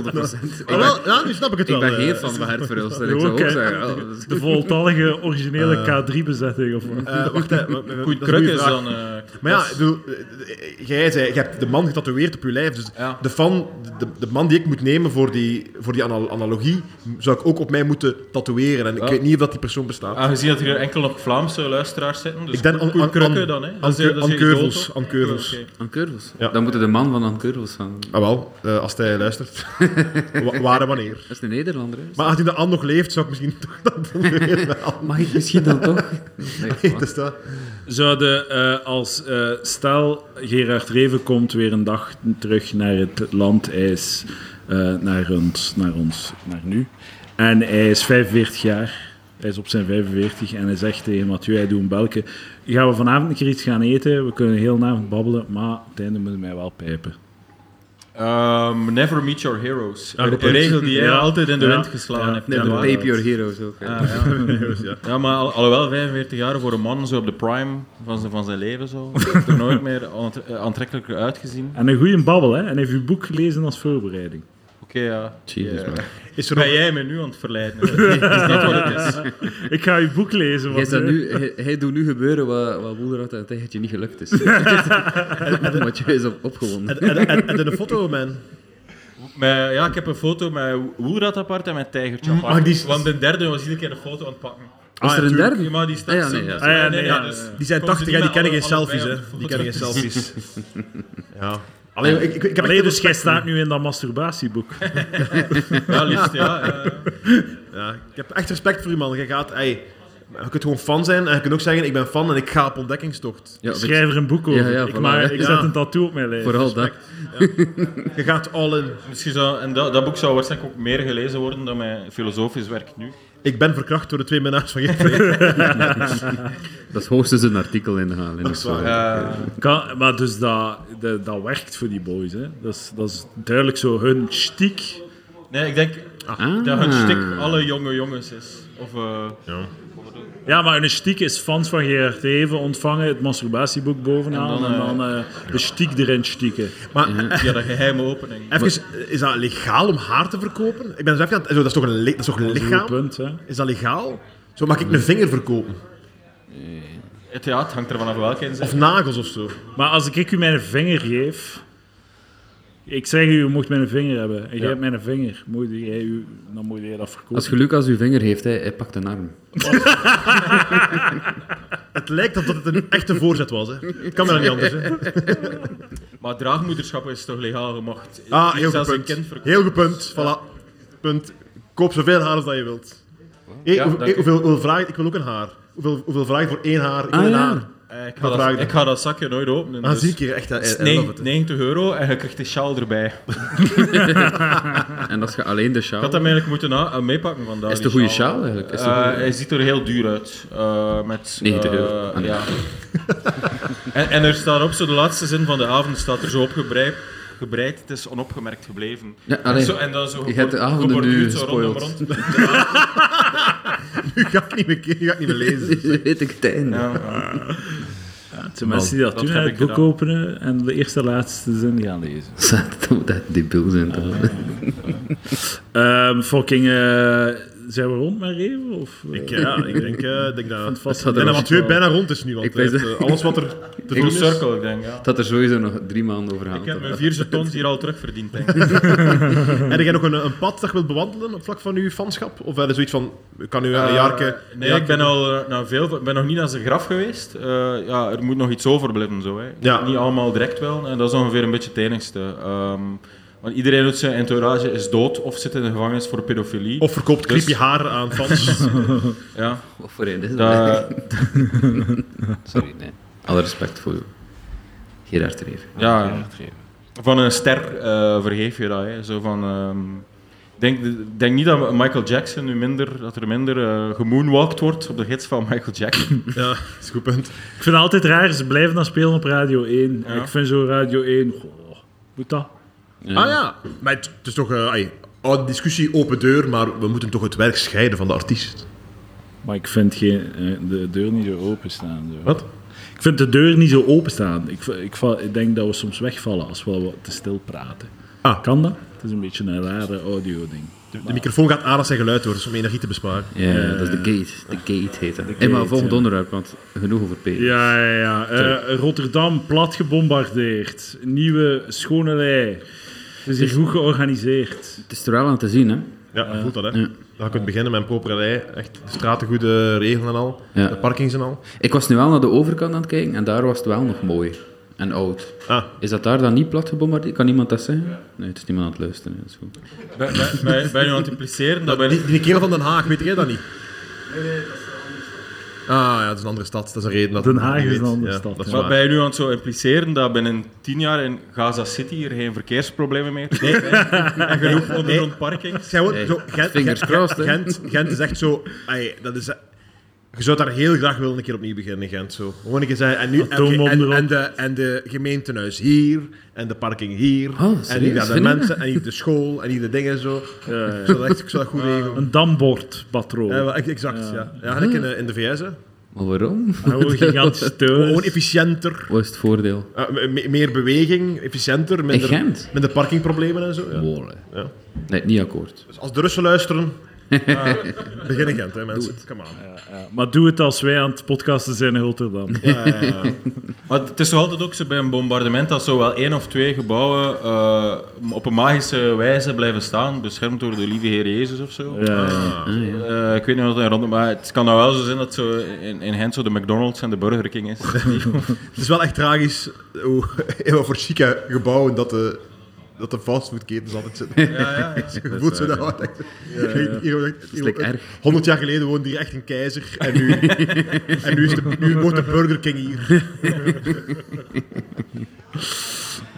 Ik
Ah,
ben,
wel, ja, nu snap ik het
ik
wel.
ben
eh.
geen fan van Hert Verhulst. en Ik
Ja,
zou
oké.
ook zeggen... oh, dat is-
De voltallige originele
Eh.
K3-bezetting of wat?
Eh, wacht, hè. wat- wat-
Goed,
dat is een
kruk
goeie
is
vraag.
dan... eh,
Maar ja,
was-
ik bedoel, eh, jij zei, je hebt de man getatoeëerd op je lijf. Dus
Ja.
de, fan, de, de man die ik moet nemen voor die, voor die ana- analogie, zou ik ook op mij moeten tatoeëren. En ik
Ja.
weet niet of dat die persoon bestaat.
Aangezien dat hier enkel nog Vlaamse luisteraars zitten, dus
Ik denk aan-
Koen
aan-
Krukke
aan-
dan, hè?
aan-
Dat is- dat is
aan
je idool,
Keuvels,
toch?
aan Keuvels.
Oké.
Aan Curvels.
Ja.
Dan moet het de man van Aan Curvels zijn.
Ah wel, eh, als hij luistert. Wa- Waar en wanneer.
Dat is een Nederlander, hè?
Maar aangezien de An nog leeft, zou ik misschien toch dat tatoeëren. bij An.
Mag ik misschien dan toch? Nee,
Dat is dat.
Zouden eh, als eh, stel Gerard Reven komt weer een dag terug naar het landijs, eh, naar ons, naar ons, naar nu. En hij is 45 jaar, hij is op zijn 45 en hij zegt tegen Mathieu, hij doet een belke, gaan we vanavond een keer iets gaan eten, we kunnen heel de avond babbelen, maar op het einde moeten mij wel pijpen.
Ehm, never meet your heroes.
Ja,
een
goed.
regel die jij
Ja.
altijd in de
Ja.
wind geslagen
Ja.
hebt.
de
Ja, maar-
Tape Your Heroes ook. hè.
Ah, ja.
Ja.
ja, maar al, alhoewel 45 jaar voor een man zo op de prime van zijn, van zijn leven zo, heeft er nooit meer aant- eh, aantrekkelijker uitgezien.
En een goede babbel, hè? En hij heeft uw boek gelezen als voorbereiding.
Oké, ja.
Jezus,
Ja.
man.
Is er nog...
Ben jij me nu aan het verleiden? Dat is niet wat het is.
Ik ga uw boek lezen.
Hij,
want,
is dat
eh,
nu, hij, hij doet nu gebeuren wat, wat Woelrad aan het tijgertje niet gelukt is. Want je is op, opgewonden.
En, en, en, en een foto, man.
Maar ja, ik heb een foto met Woerat apart en met Tijgertje apart.
ah, die-
Want de derde was iedere keer een foto aan het pakken.
Was er een
tuurlijk.
derde?
Ja, maar die staat
Ah, ja,
zo-
nee, ja.
dat is-
Ah, ja,
nee,
nee,
ja,
ja,
dus-
Die zijn
Komen
80,
ze
hè, die
niet
kennen geen
met alle-
selfies.
allebei
Hè.
op
Die
de foto?
kennen geen selfies. Ja. Allee, ik, ik, ik heb
Allee,
echt
dus jij
respect voor-
staat nu in dat masturbatieboek.
Ja, liefst, ja. eh, ja, ja.
Ja, ik heb echt respect voor u, man. Je gaat... Ey, je kunt gewoon fan zijn en je kunt ook zeggen, ik ben fan en ik ga op ontdekkingstocht.
Ja,
Schrijf er een boek over.
Ja, ja,
ik,
voilà,
maar,
hè.
ik zet
Ja.
een tattoo op mijn lijf.
Vooral dat.
Je gaat all in.
Misschien zou, en dat, dat boek zou waarschijnlijk ook meer gelezen worden dan mijn filosofisch werk nu.
Ik ben verkracht door de twee minnaars van Geert
Dat is hoogstens een artikel inhalen. in
Dat
het
is waar,
forum.
Eh,
Kan, maar dus dat, dat, dat werkt voor die boys. Hè. Dat, is, dat is duidelijk zo hun stiek.
nee, ik denk
Ah.
dat het stuk alle jonge jongens is. Of, eh,
Ja, maar hun stiek is fans van Gerard Reven ontvangen, het masturbatieboek bovenaan en
En
dan,
dan,
eh, de stiek erin stieken.
Maar
ja, de geheime opening.
even, is dat legaal om haar te verkopen? Ik ben zelf aan het... Zo, dat is toch een, li- dat is toch een
Dat is een goed
lichaam?
punt. Hè.
Is dat legaal? Zo mag ik een vinger verkopen.
Het, ja, het hangt er vanaf welke inzet.
Of nagels of zo.
Maar als ik u mijn vinger geef... Ik zeg u, u mocht mijn vinger hebben. En jij hebt mijn vinger. Moet jij, u, dan moet jij dat verkopen.
Als je Lucas uw vinger heeft, hij, hij pakt een arm.
Het lijkt alsof het een echte voorzet was. Hè. Kan me dat niet anders. Hè.
Maar draagmoederschap is toch legaal gemacht?
Ah, heel goed
Zelfs een
punt.
kind verkopen.
Heel goed punt. Voilà. Punt. Koop zoveel haar als dat je wilt. Eh,
Ja,
hoeveel-
dank u.
eh, hoeveel, hoeveel vraag ik? Ik wil ook een haar. Hoeveel, hoeveel vraag ik voor één haar? Ik wil
Ah,
een
ja.
haar.
Eh, ik, ga
Wat
dat,
vraag je?
ik ga dat zakje nooit openen.
Ah,
dus-
zie ik hier echt.
Het is
eh, I love
negen-
it.
90 euro en je krijgt de sjaal erbij. Ik
En als je alleen de sjaal...
had hem eigenlijk moeten na- eh, meepakken vandaag.
Is het
die
een goede sjaal eigenlijk? Is het een
Eh,
goeie-
hij ziet er heel duur uit. Eh, met,
90
eh,
euro. Ah, nee.
ja. en, en er staat op, zo de laatste zin van de avond staat er zo opgebreid. Gebreid, het is onopgemerkt gebleven.
Ja, allee.
Zo, en dan zo
Je hebt de
gebor-
avonden nu
geborduurd, zo
gespoild.
rondom rond.
U gaat niet meer, u gaat niet meer lezen.
weet ik het einde.
Ja, ja.
Het zijn mensen die dat,
dat
doen,
heb
hè,
ik
het boek
gedaan.
openen en de eerste laatste zin gaan lezen.
Dat moet echt debiel zijn. toch?
Ehm, fucking, eh, zijn we rond met Reven? Of, eh,
Ik, ja, ik denk, eh denk dat.
vast-
had
Ik
er
denk dat
was-
wat twee bijna rond is nu. Want
Ik weet
eh,
het.
alles wat er te
Full
doen is.
circle, ik denk. Ja.
Dat er sowieso nog drie maanden over
Ik heb mijn
gaat.
vier jetons hier al terugverdiend, denk ik.
Heb jij nog een, een pad dat je wilt bewandelen op vlak van uw fanschap? Of heb je zoiets van, ik kan nu een jaar...
Eh, nee, ik ben, al, eh, naar veel, ik ben nog niet naar zijn graf geweest. Eh, ja, er moet nog iets overblijven. Zo, hè.
Ja.
Niet allemaal direct wel. En dat is ongeveer een beetje het enigste. Ehm, want iedereen uit zijn entourage is dood of zit in de gevangenis voor pedofilie.
Of verkoopt
Dus-
creepy haar aan fans.
ja,
Wat voor een is dat?
dat,
Sorry, nee. Alle respect voor Gerard Reven.
ja, van een ster eh, vergeef je dat. Hè. Zo van, ehm, ik denk, ik denk niet dat Michael Jackson nu minder, dat er minder eh gemoonwalked wordt op de gids van Michael Jackson.
ja, dat is een goed punt.
Ik vind het altijd raar, ze blijven dan spelen op Radio 1.
Ja.
Ik vind zo Radio 1, goh, moet dat?
Ah ja, maar het, het is toch... eh, ai, oude discussie, open deur, maar we moeten toch het werk scheiden van de artiest.
Maar ik vind geen, eh, de deur niet zo open staan. Zo.
Wat?
Ik vind de deur niet zo open staan. Ik, v- ik, val- ik denk dat we soms wegvallen als we wat te stil praten.
Ah.
Kan dat? Het is een beetje een rare audio-ding.
De, de microfoon gaat aan als zijn geluid wordt, dus om energie te besparen.
Ja, dat is de gate. De gate heet dat. Hey,
gate,
maar volgend
ja.
onderwerp, want genoeg over P.
Ja, ja, ja. Eh, Rotterdam plat gebombardeerd. Nieuwe schone lei. Het is hier goed georganiseerd.
Het is er wel aan te zien, hè?
Ja, dat voelt dat, hè. Dan kunt beginnen met een propere rij. Echt de straten goede regelen en al.
Ja.
De parkings en al.
Ik was nu wel naar de overkant aan het kijken en daar was het wel nog mooi en oud.
Ah,
Is dat daar dan niet plat gebombardeerd? Kan iemand dat zeggen? Nee, het is niemand aan het luisteren. Dat is goed.
Ben- ben- ben- Ben je aan het impliceren dat bij
die, die kerel van Den Haag, weet jij dat niet? Nee, nee, dat is een andere stad. Ah ja, dat is een andere stad. Dat is een reden dat...
Den Haag
je
is een
weet.
andere
Ja,
stad,
dat is
ja.
Maar
waar.
ben je nu aan het zo impliceren dat binnen tien jaar in Gaza City er geen verkeersproblemen meer zijn? en genoeg ondergrond parkings?
Zij wordt zo, Gent,
fingers
Gent-
crossed, hè.
Gent, Gent is echt zo... ai, dat is, je zou daar heel graag willen een keer opnieuw beginnen, Gent. Zo. Gewoon een keer zeggen... En, nu, en,
Atoombom
en,
erop.
en de, en de gemeentehuis hier, en de parking hier,
Ah,
en hier
serieus?
gaan de
Vind je
mensen, en hier de school, en hier de dingen zo. Ik zou dat echt ik zou dat goed regelen.
Een dambordpatroon.
Ja, wel, e- exact, ja. Ja, en ik in, de- in de VS, hè.
Maar waarom?
Hij wordt gigantisch
Dus-
Gewoon
teus.
efficiënter.
Wat is het voordeel?
Eh, me- meer beweging, efficiënter, minder,
Gent?
minder parkingproblemen en zo. Ja.
Molen.
Ja.
Nee, niet akkoord.
Dus als de Russen luisteren, Begin in Gent, hè, mensen. Come on.
Maar doe het als wij aan het podcasten zijn in Rotterdam.
Maar het is toch altijd ook zo bij een bombardement dat zo wel één of twee gebouwen eh, op een magische wijze blijven staan, beschermd door de lieve Heer Jezus of zo.
Ja.
Eh, ik weet niet wat er rond, maar het kan nou wel zo zijn dat zo in, in Gent zo de McDonald's en de Burger King is.
Het is wel echt tragisch hoe, in wat voor chique gebouwen dat de, dat de fastfoodketens altijd zitten.
ja, ja.
Je voelt nou zo dat wat echt... Hier- hier- hier-
like erg.
100 jaar geleden woonde hier echt een keizer. En nu, en nu, is de, nu wordt de Burger King hier.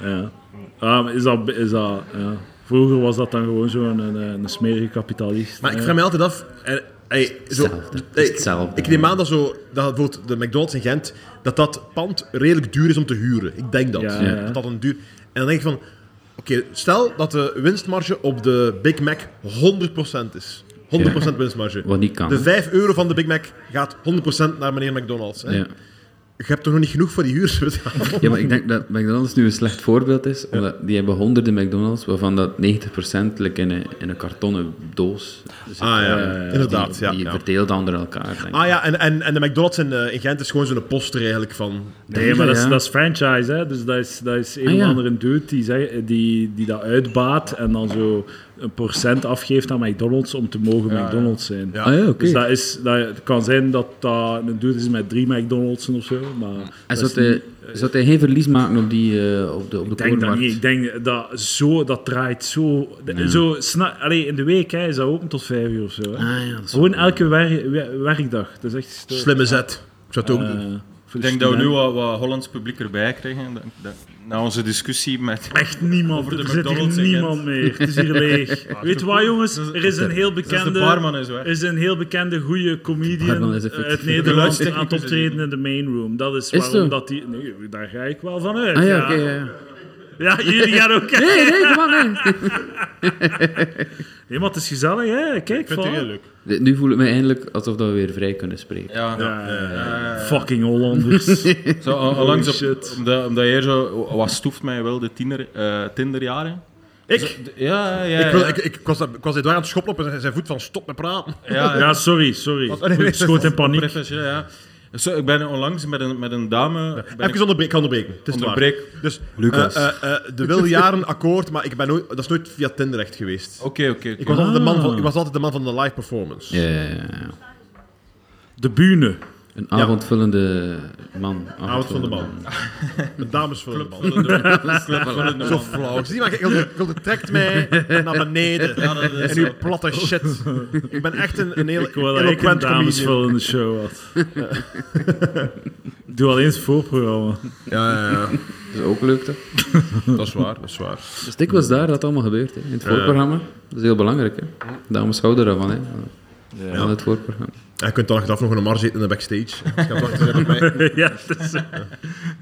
Ja. Ah, maar is dat, is dat, ja. Vroeger was dat dan gewoon zo'n eh, een, een smerige kapitalist. eh.
Maar ik
hè.
vraag me altijd af. En, ey, zo,
Hetzelfde. Eh, Het
ey,
is hetzelfde.
Ik neem aan dat, zo, dat bijvoorbeeld de McDonald's in Gent. dat dat pand redelijk duur is om te huren. Ik denk dat.
Ja, ja.
Dat dat een duur. En dan denk ik van. Oké, stel dat de winstmarge op de Big Mac 100% is. 100% winstmarge.
Wat niet kan.
De 5 euro van de Big Mac gaat 100% naar meneer McDonald's. Hè?
Ja.
Je hebt toch nog niet genoeg voor die Ah, huur? zo te betalen?
ja, maar ik denk dat McDonald's nu een slecht voorbeeld is. Omdat die hebben honderden McDonald's, waarvan dat 90% like in, een, in een kartonnen doos zit.
Ah ja,
Eh, die-
inderdaad. Ja,
die
ja.
verdeeld onder elkaar, denk ik.
Ah ja, en, en, en de McDonald's in, eh, in Gent is gewoon zo'n poster eigenlijk van...
Nee, maar dat is,
Ja.
dat is franchise, hè. Dus dat is, dat is een
Ah,
of
ja.
andere dude die, zeg- die, die dat uitbaat en dan zo een procent afgeeft aan McDonald's om te mogen McDonald's zijn.
Ja.
Ah ja, oké.
Dus dat, is, dat het kan zijn dat dat een dude is met drie McDonald's of zo, maar...
En
dat
zou
is
hij,
niet-
zou hij geen verlies maken op, die, eh, op de, op de
Ik denk dat
korenmarkt?
niet. Ik denk dat zo, dat draait zo... de- zo sna- Allee, in de week hè, is dat open tot vijf uur of zo. Hè.
Ah, ja, dat is
Gewoon elke wer- wer- werkdag. Dat is echt... sto-
Slimme zet. Ik zou het ook
Eh,
doen.
voor
Ik
de
denk dat we nu
studenten.
wat, wat Hollands publiek erbij krijgen. Dat, dat- na onze discussie met...
Echt niemand.
Over de
er zit hier
McDonald's in
niemand meer. Het is hier leeg. Weet je wat, jongens?
Dat is-
Er is een heel
Dus de
bekende...
barman is weg.
Er is een heel bekende goede comedian
Pardon, is
eh,
effectief.
uit
De
Nederland
geluidstechnicus
aan het
is hier.
optreden in de main room. Dat is
het
waarom
zo?
dat die... Nee, daar ga ik wel van uit.
Ah ja,
ja.
oké, ja, ja.
Ja, jullie gaan ook...
Nee, nee, kom aan, nee.
Nee, maar het is gezellig, hè? Kijk,
Ik vind het
voilà.
heel leuk.
Dit- Nu voel ik me eindelijk alsof dat we weer vrij kunnen spreken.
Ja,
Ja, ja,
ja.
Fucking Hollanders.
Zo, al- allangs op-
shit.
omdat, omdat jij zo... Wat stoeft mij wel de tiener, eh, tinderjaren?
Ik?
De- Ja, ja, ja.
Ik, wil,
ja.
ik, ik, ik was, ik was Edouard aan het schoppen op en zijn voet van stop met praten.
Ja,
ja, sorry, sorry. Ik schoot in paniek.
Professioneel, ja. Zo, ik ben onlangs met een, met een dame... ben
Even
ik-
onderbreken, ik kan onderbreken. Het is te waar.
Onderbreek.
Dus,
Lucas.
eh, eh, eh, de wilde jaren akkoord, maar ik ben nooit, dat is nooit via Tinder echt geweest.
Oké, oké. oké.
Ik was, altijd de man van, ik was altijd de man van de live performance.
Ja, ja, ja, ja.
De bühne.
Een avondvullende man.
Avond van de man. De dames van de man. Zo
Zo
flauw. Zie je, maar kijk, Hilde- Hilde trekt mij naar beneden.
Ja, dat is
En uw
zo.
platte shit. Ik ben echt een, een heel
Ik wil dat ik een
eloquent comedian.
damesvullende show had. Ik doe alleen het voorprogramma.
Ja, ja, ja.
Dat is ook leuk, toch?
Dat is waar, dat is waar.
Dus ik was daar dat allemaal gebeurt, hè. in het voorprogramma. Dat is heel belangrijk, hè. Dames houden daarvan, hè. Van het voorprogramma.
En je kunt dan achteraf nog een mars eten in de backstage. Ik ga wachten zijn op mij.
ja, het is-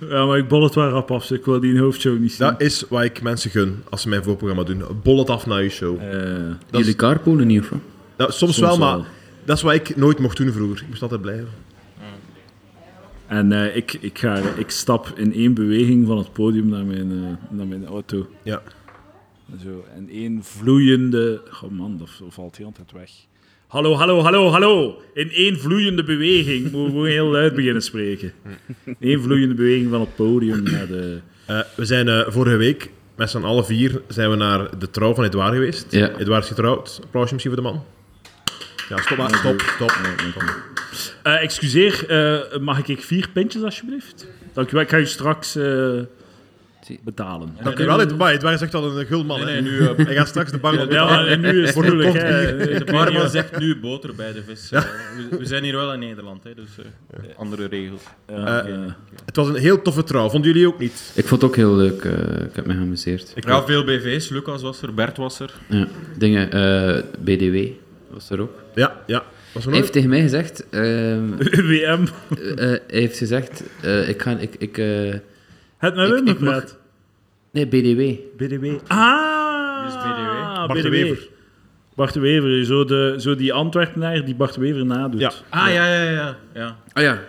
ja, maar ik bol het wel rap af. dus Ik wil die in hoofdshow niet zien.
Dat is wat ik mensen gun als ze mijn voorprogramma doen. Bol het af naar je show.
Eh,
Dat is-
Jullie carpoolen niet, of wat?
Nou, soms,
Soms
wel, maar
wel.
dat is wat ik nooit mocht doen vroeger. Ik moest altijd blijven.
en eh, ik, ik, ga, ik stap in één beweging van het podium naar mijn, eh, naar mijn auto.
Ja.
Zo, en één vloeiende... Goh man, dat valt heel altijd weg. Hallo, hallo, hallo, hallo. In één vloeiende beweging. Moeten we gewoon heel luid beginnen spreken. Eén vloeiende beweging van het podium naar de...
Eh, we zijn eh, vorige week met z'n allen vier zijn we naar de trouw van Edouard geweest.
Ja.
Edouard is getrouwd. Applausje misschien voor de man. Ja, stop maar. Stop, stop.
Eh, excuseer, eh, mag ik vier pintjes alsjeblieft? Dankjewel, ik ga u straks eh, betalen.
Dank u wel, Edouard. Edouard is echt al een gul man.
Nee,
hè.
nee, nu... eh,
Hij gaat straks de bank op.
Ja, maar nu is het
Wordt
moeilijk.
gekocht
hè.
De barman zegt nu boter bij de vis. Eh, We, we zijn hier wel in Nederland, hè, dus eh, andere regels.
Ja,
Eh,
ja.
Het was een heel toffe trouw. Vonden jullie ook niet?
Ik vond het ook heel leuk. eh, ik heb me geamuseerd.
Ik
Ja, veel BV's. Lucas was er, Bert was er.
Ja. Dingen, eh, BDW was er ook.
Ja, ja. Was er nog?
Hij heeft tegen mij gezegd... ehm,
WM,
eh, hij heeft gezegd... eh, ik ga... Ik, ik, eh,
het met
Ik-
Wim
ik mag-
gepraat.
nee, BDW.
BDW. Ah!
Wie is BDW?
Bart de Wever.
Bart de Wever, zo, de, zo die Antwerpenaar die Bart de Wever nadoet.
Ja.
Ah, ja, ja, ja. ja.
Ah ja.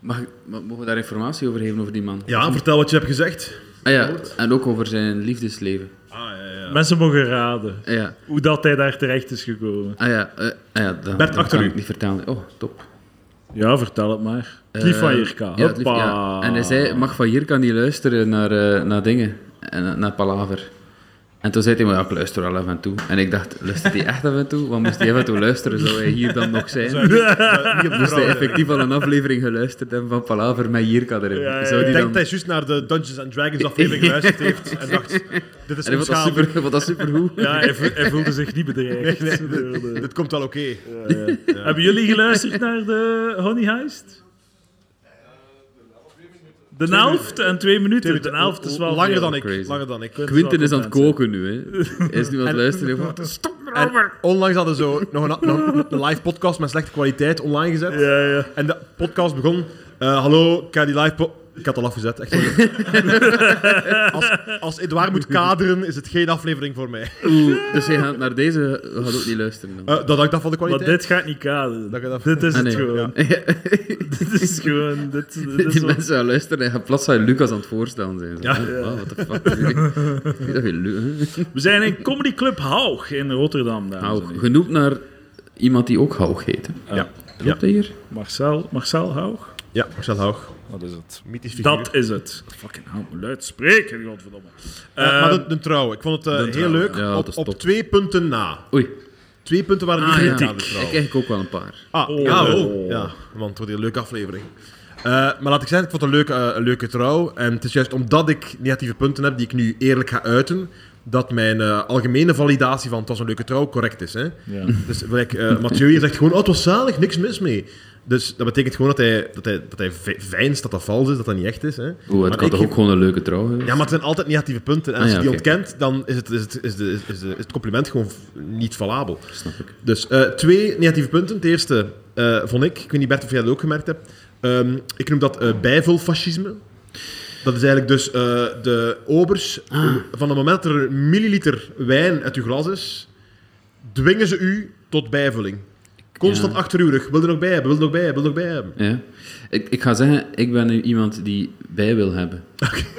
Mag, ik- ma- mogen we daar informatie over geven over die man?
Ja, vertel wat je hebt gezegd.
Ah ja, en ook over zijn liefdesleven. Ah
Ah, ja, ja.
Mensen mogen raden
Ja.
hoe dat hij daar terecht is gekomen.
Ah ja, eh, ah, ja dat,
Bert,
dat
achter
kan
u.
ik niet vertellen. Oh, top. Eh,
Ja, vertel het maar. Het lief Eh, van Jirka.
Ja, het lief-
Hoppa.
ja. En hij zei, mag van hier kan niet luisteren naar, eh, naar dingen, en, naar Palaver. En toen zei hij, maar ja, ik luister wel af en toe. En ik dacht, luistert hij echt af en toe? Want moest hij af en toe luisteren, zou hij hier dan nog zijn? Moest hij effectief al een aflevering geluisterd hebben van Palaver met Jirka erin?
Ja, ja,
Zou
Ik denk
die dan...
dat hij juist naar de Dungeons and Dragons aflevering geluisterd heeft en dacht, dit is
En hij vond dat,
onschadelijk.
super, vond dat supergoed.
Ja, hij, vo- hij voelde zich niet bedreigd. door de-
Dit komt wel oké.
Hebben jullie geluisterd naar de Honey Heist? De helft en twee minuten.
minuten.
De helft is wel
Langer
veel.
dan ik.
crazy.
Langer dan ik.
Quinten is aan het
Mensen.
koken nu, hè. Hij dus, is nu aan het luisteren. Wat is
En onlangs hadden ze zo nog een, nog een live podcast met slechte kwaliteit online gezet.
Ja, ja.
En de podcast begon. eh, hallo, ik ga die live. po- Ik had het al afgezet. Echt waar. als, als Edouard moet kaderen, is het geen aflevering voor mij.
Oeh, dus hij gaat naar deze gaat ook niet luisteren. Dan.
Eh, dat hangt af van de
Maar
kwaliteit.
dit gaat niet kaderen.
Dat gaat af-
Dit is
Ah,
het
nee.
gewoon. Dit is gewoon... Dit, dit is
Die
wat-
mensen gaan luisteren en gaan plots zou je Lucas aan het voorstellen zijn. Ja. wat de fuck. Ik weet dat je Lu- hè?
We zijn in Comedy Club Haug in Rotterdam. dames en
Haug.
heren.
Genoemd naar iemand die ook Haug heet. hè.
Ja.
Klopt dat hier?
Marcel, Marcel Haug?
Ja, Marcel Haug.
Wat is het?
Mythisch figuur.
Dat is het. Fucking hou me luid spreken, godverdomme.
Eh, maar de, de trouw. Ik vond het eh,
de
heel
trouw,
leuk.
ja. Ja, dat
op,
is
op
top.
twee punten na.
Oei.
Twee punten waren niet
Ah, ja.
gegeven aan de
Ik
trouw.
krijg ook wel een paar.
Ah,
Oh.
ja,
Oh.
oh. ja, man, het wordt hier een leuke aflevering. Eh, maar laat ik zeggen, ik vond het een leuke, eh, een leuke trouw. En het is juist omdat ik negatieve punten heb die ik nu eerlijk ga uiten, dat mijn eh, algemene validatie van het was een leuke trouw correct is. Hè?
Ja.
Dus gelijk, eh, Mathieu hier zegt gewoon, oh, het was zalig, niks mis mee. Dus dat betekent gewoon dat hij, dat hij, dat hij ve- veinst dat dat vals is, dat dat niet echt is. Hè?
Oeh, het
Maar
kan
ik
toch
geef-
ook gewoon een leuke trouw hè?
Ja, maar het zijn altijd negatieve punten. En als
Ah,
je
ja,
die
oké.
ontkent, dan is het, is, het, is, de, is, de, is het compliment gewoon v- niet valabel. Dus eh, twee negatieve punten. Het eerste eh, vond ik, ik weet niet Bert of jij dat ook gemerkt hebt, Ehm, ik noem dat eh, bijvulfascisme. Dat is eigenlijk dus eh, de obers, van het moment dat er een milliliter wijn uit uw glas is, dwingen ze u tot bijvulling. Constant
Ja.
achter uw rug. Wil er nog bij hebben, wil er nog bij hebben, wil er nog bij hebben.
Ja. Ik, ik ga zeggen, ik ben nu iemand die bij wil hebben.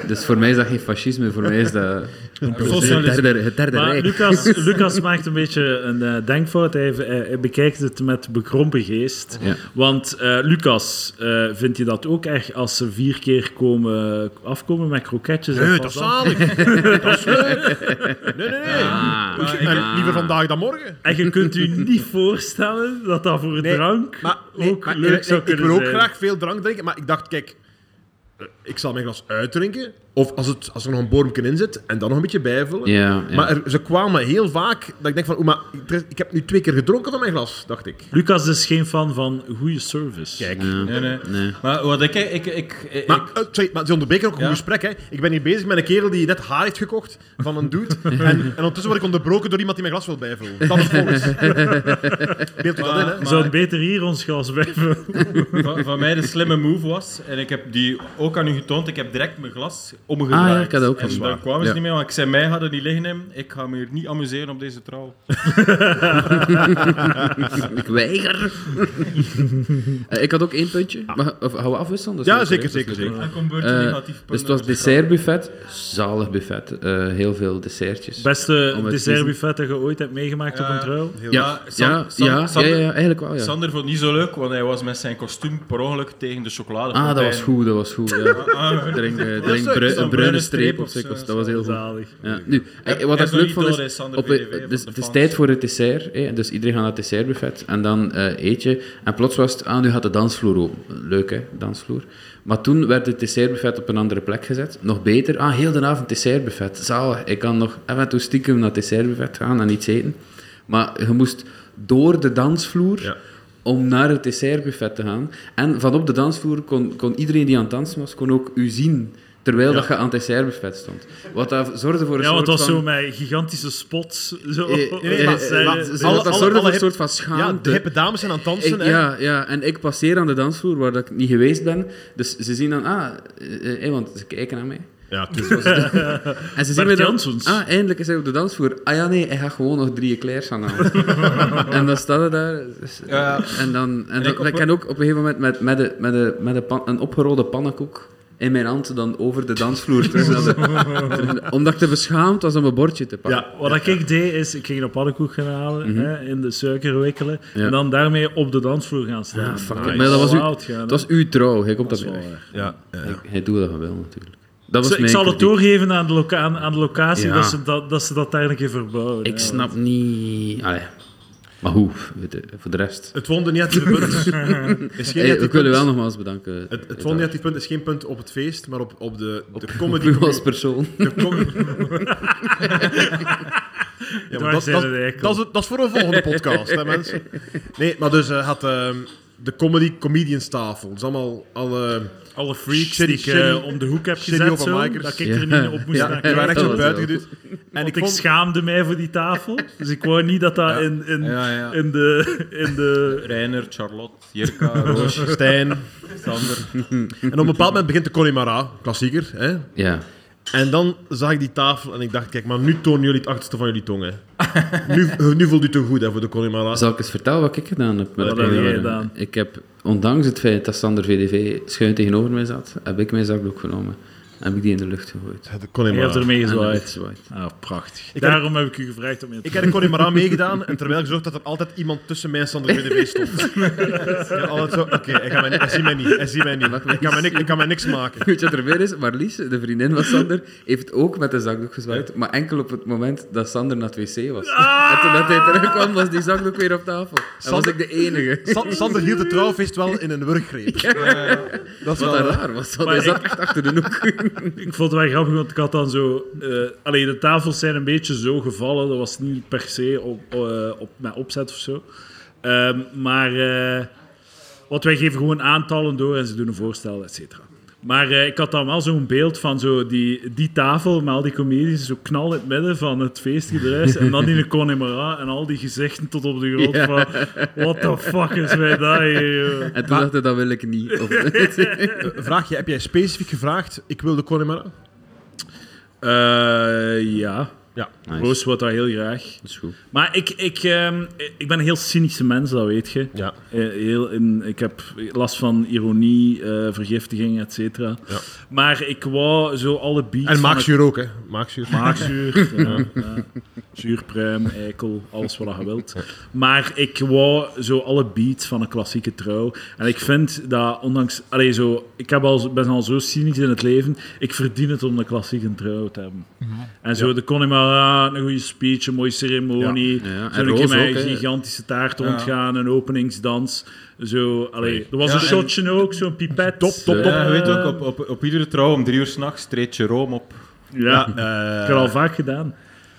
Dus voor mij is dat geen fascisme, voor mij is dat het
Socialisme.
derde, het derde
Maar
rijk.
Lucas, Lucas maakt een beetje een eh, denkfout. Hij, hij- hij bekijkt het met bekrompen geest.
Ja.
Want eh, Lucas, eh vind je dat ook erg als ze vier keer komen, afkomen met kroketjes? en
Nee, dat is
fazan?
zalig. dat is leuk. Nee, nee, nee.
Ah.
Maar ik-
En liever vandaag dan morgen.
En je kunt u niet voorstellen dat dat voor
Nee,
drank
Maar,
ook leuk
eerlijk,
zou
ik
kunnen
wil ook
zijn.
graag veel drank drinken, maar ik dacht, kijk, eh, ik zal mijn glas uitdrinken. Of als, het, als er nog een bormken in zit, en dan nog een beetje bijvullen.
Ja, ja.
Maar er- ze kwamen heel vaak dat ik denk van, oeh, maar ik, er- ik heb nu twee keer gedronken van mijn glas, dacht ik.
Lucas is geen fan van goede service.
Kijk.
Nee, nee.
Nee.
Maar wat ik... ik, ik, ik-
Maar, eh, sorry, maar ze onderbreken ook een
Ja.
goed gesprek. Hè. Ik ben hier bezig met een kerel die net haar heeft gekocht van een dude. en, en ondertussen word ik onderbroken door iemand die mijn glas wil bijvullen. Dat is volgens. Beeld u dat in, hè?
We zouden beter hier ons glas wijven.
van, van mij de slimme move was, en ik heb die ook aan u getoond, ik heb direct mijn glas omgedraaid.
Ah, ja, ik had dat ook
En
gezien.
dan kwamen ze
Ja.
niet meer, want ik zei, mij hadden niet liggen in, ik ga me hier niet amuseren op deze trouw.
Ik weiger. Eh, ik had ook één puntje. Maar, of, gaan we afwisselen? Dat is
Ja,
leuk,
zeker,
hè? Dat is
zeker,
leuk.
zeker.
Dan komt beurt
Eh,
negatief punt.
dus het was dessertbuffet. Zalig buffet. Eh, heel veel dessertjes.
Beste
Om het
dessertbuffet dat je ooit hebt meegemaakt op
Ja.
een trouw.
ja,
Ja, San-
ja,
San-
ja,
Sander-
ja, ja, eigenlijk wel. Ja.
Sander vond het niet zo leuk, want hij was met zijn kostuum per ongeluk tegen de chocolade. Ah,
ah, dat was goed, dat was goed. Ja. Drink, eh, drink bru- een
zo'n- zo'n
bruine
bruine
streep
streep
of
of
zo. Dat was-
zo,
Dat was heel goed.
Zalig.
Ja. Nu, eh, wat
Hij
ik leuk
zou niet
vond
door, hè,
is,
Sander
op, eh,
VDV van
dus,
de
het is
fans.
tijd voor het dessert, hè, dus iedereen gaat naar het dessertbuffet en dan eh, eet je. En plots was het, ah, nu gaat de dansvloer open. Leuk hè, dansvloer. Maar toen werd het dessertbuffet op een andere plek gezet. Nog beter, ah, heel de avond dessertbuffet. Zalig, ik kan nog af en toe stiekem naar het dessertbuffet gaan en iets eten. Maar je moest door de dansvloer...
Ja.
Om naar het dessertbuffet te gaan. En vanop de dansvloer kon, kon iedereen die aan het dansen was, kon ook u zien. Terwijl dat je aan het dessertbuffet stond. Wat dat zorgde voor een
Ja, want dat
soort
was
van...
zo met gigantische spots. Zo.
Eh, eh,
nee, maar-
Dat zijn-
maar-
Ze-
Alle-
dat
alle-
zorgde
alle
voor een
hip-
soort van
Ja, de
schaamte.
hippe dames zijn aan het dansen.
Ik-
hè.
ja, ja, en ik passeer aan de dansvloer waar dat ik niet geweest ben. Dus ze zien dan, ah, eh, eh, eh, want ze kijken naar mij.
Ja, tuurlijk.
En ze zien
Bert
mij dan,
Janssens.
ah, eindelijk is hij op de dansvloer. Ah ja, nee, hij gaat gewoon nog drie eclairs aan halen. en dan staat hij daar. dus, eh,
Ja.
En dan, en dan,
ik op-
ik ken ook op een gegeven moment met, met, de, met, de, met de pan- een opgerolde pannenkoek. in mijn hand dan over de dansvloer. terug naar de- omdat ik te beschaamd was om een bordje te pakken.
Ja.
Wat ik deed is, ik ging een pannenkoek gaan halen, hè, in de suiker wikkelen
Mhm. Ja.
en dan daarmee op de dansvloer gaan staan.
Ah, fuck it.
Nice.
Maar dat was,
All
u,
out gaan,
dat
hè.
was uw trouw. Hij komt dat
Dat is wel
bij.
waar.
Ja, ja.
Hij doet dat wel natuurlijk. Dat was
Ze- Ik
mijn
zal het
kritiek.
doorgeven aan de, loca- aan, aan de locatie
Ja.
dat, ze dat, dat ze dat daar een keer verbouwen.
Ik
hè.
snap niet. Allee. Maar hoe? Weet je, voor de rest.
Het won de negatieve punt. is geen
Hey,
negatief
ik wil u
punt.
wel nogmaals bedanken.
Het, het
Edouard.
won negatief punt is geen punt op het feest, maar op, op de, de comedy.
U als persoon.
de com- Ja,
Daar
maar dat,
zijn
dat,
we de eikel.
dat, is, dat is voor een volgende podcast, hè, mensen. Nee, maar dus eh had ehm, de comedy comedians tafel. Dus allemaal alle...
Alle freaks
Shitty-
die ik eh,
shitty-
om de hoek heb
shitty
gezet, zo,
openmikers.
dat ik
Ja.
er niet op moest
Ja,
gaan
die waren
kijken.
echt
dat
zo
was
buiten
heel
geduwd. En
Want
ik
ik
vond...
schaamde mij voor die tafel. Dus ik wou niet dat dat in, in,
Ja, ja.
in de... In de
Reiner, Charlotte, Jirka, Roos,
Stijn. En
Sander.
op een bepaald moment begint de Connemara, klassieker. Hè?
Ja.
En dan zag ik die tafel en ik dacht, kijk, maar nu tonen jullie het achterste van jullie tongen. Nu, eh, nu voelt u te goed hè, voor de Connemara.
Zal ik eens vertellen wat ik gedaan heb? Met
Wat
de
heb jij
jaren?
gedaan?
Ik heb, ondanks het feit dat Sander VDV schuin tegenover mij zat, heb ik mijn zakdoek genomen. En heb ik die in de lucht gegooid.
De
je
Connemara.
hebt ermee
En dan
gezwaaid.
gezwaaid.
Ah, prachtig.
Ik heb-
Daarom heb ik u gevraagd om je te
Ik heb de Connemara meegedaan en terwijl ik zorg dat er altijd iemand tussen mij en Sander VDV stond. Ik heb altijd zo, oké, hij, gaat mij niet- hij ziet mij niet, hij ziet mij niet. Ik kan mij, niks- ik kan mij niks maken.
Weet je wat er weer is? Marlies, de vriendin van Sander, heeft ook met de zakdoek gezwaaid, maar enkel op het moment dat Sander naar het wc was. En toen dat hij terugkwam, was die zakdoek weer op tafel. En was
Sander-
ik de enige.
Sa- Sander hield het trouwfeest wel in een wurggreep. Dat is
Wat
wel
dat
raar.
raar was, want
Maar
hij
ik-
zat echt achter de hoek.
Ik vond het wel grappig, want ik had dan zo... eh allee, de tafels zijn een beetje zo gevallen. Dat was niet per se op, eh, op, met opzet of zo. Ehm, maar... eh, want wij geven gewoon aantallen door en ze doen een voorstel, et cetera. Maar eh, ik had dan wel zo'n beeld van zo die, die tafel met al die comedies zo knal in het midden van het feestgedruis. en dan in de Connemara en al die gezichten tot op de grond
Ja.
van... What the fuck is mij dat hier, joh?"
En toen dacht hij, dat wil ik niet. Of,
Vraag je, heb jij specifiek gevraagd, ik wil de Connemara?
Eh, ja,
Ja.
Roos wordt dat heel graag.
Dat is goed.
Maar ik, ik, ehm, ik ben een heel cynische mens, dat weet je.
Ja.
Eh, Heel in, ik heb last van ironie, eh, vergiftiging, et cetera.
Ja.
Maar ik wou zo alle beats...
En
van het-
maakzuur ook, hè. Maakzuur.
Maagzuur, ja, ja. zuurpruim, eikel, alles wat je wilt. Maar ik wou zo alle beats van een klassieke trouw. En ik vind dat, ondanks... Allee, zo, ik heb al, ben al zo cynisch in het leven. Ik verdien het om een klassieke trouw te hebben. En zo, de Connemara, ah, een goede speech, een mooie ceremonie.
Ja, en
zo een keer
Roos
met een
ook, hè.
gigantische taart rondgaan, een openingsdans. Zo, allee, er was
Ja,
een
en-
shotje ook, zo'n pipet. Top, top,
top.
Ja, je weet ook, op, op, op iedere trouw om drie uur s'nachts treedt Jerome op.
Ja, ik
Eh,
heb het al vaak gedaan.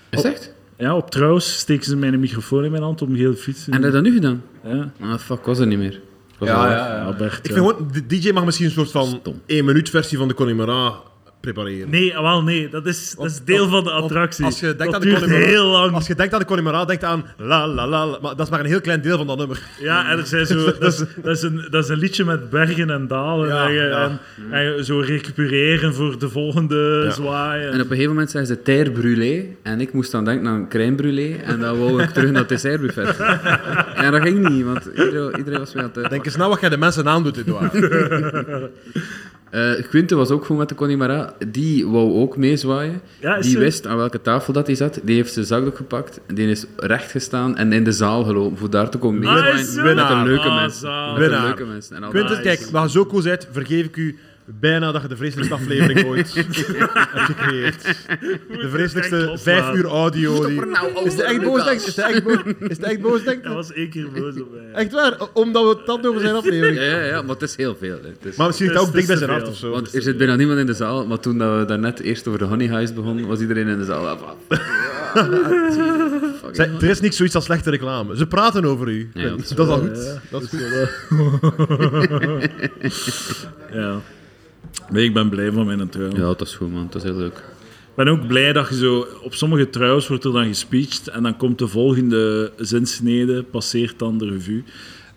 Is het echt?
Ja, op trouwens steken ze mij een microfoon in mijn hand om heel fiets te
En heb je dat nu gedaan?
Ja,
Ah, fuck, was er niet meer. Ik was al weg.
ja, Bert,
Ik
ja.
vind gewoon, de DJ mag misschien een soort van
Stom.
één minuut versie van de Connemara prepareren.
Nee, ah, wel nee, dat is, dat is deel van de
Want
attractie.
Als je denkt
dat
aan de
duurt
Connemara-
heel lang.
Als je denkt aan de Connemara, denk aan la la la, la, maar dat is maar een heel klein deel van dat nummer.
Ja, en er zijn zo, dat, is, dat, is een, dat is een liedje met bergen en dalen.
Ja,
en, je-
ja.
en, en zo recupereren voor de volgende
Ja.
zwaai. en-
En op een gegeven moment zei ze terre brûlée. En ik moest dan denken aan crème brûlée. En dan wou ik terug naar het dessertbuffet. En dat ging niet, want iedereen, iedereen was weer aan het...
Denk eens nou wat jij de mensen aandoet, Edouard.
Eh Quinte was ook gewoon met de Connemara. Die wou ook meezwaaien.
Ja, is
die
ze-
wist aan welke tafel dat hij zat. Die heeft zijn zakdoek gepakt. Die is recht gestaan en in de zaal gelopen. Voor daar te komen
Ah, is
meezwaaien.
ze?
met een
Winnaar.
leuke
Ah,
mens.
zaal.
Met een
Winnaar.
leuke mens. En al
Quinten,
Nice.
kijk, waar je zo cool bent, vergeef ik u bijna dat je de vreselijkste aflevering ooit hebt gecreëerd. De vreselijkste
Echt
vijf
loslaten.
uur audio. Die...
nou over,
Is de echt boos, denk Is de echt boos, is de echt boos denk
Hij was één keer boos op mij.
Echt waar, omdat we dat over zijn
Ja,
aflevering.
ja, ja, maar het is heel veel. Hè. Het is-
Maar misschien ligt dat ook
Het is
dik
te
bij zijn hart
veel.
of zo.
Want er zit bijna niemand in de zaal, maar toen dat we daarnet eerst over de Honey House begonnen, was iedereen in de zaal. Ah, fuck. Fuck.
Zij- er is niks zoiets als slechte reclame. Ze praten over u.
Ja,
dat,
dat
is
is
al goed. dat is goed.
Ja. Nee, ik ben blij van mijn trouw.
Ja, dat is goed, man. Dat is heel leuk.
Ik ben ook blij dat je zo... Op sommige trouws wordt er dan gespeecht en dan komt de volgende zinsnede, passeert dan de revue.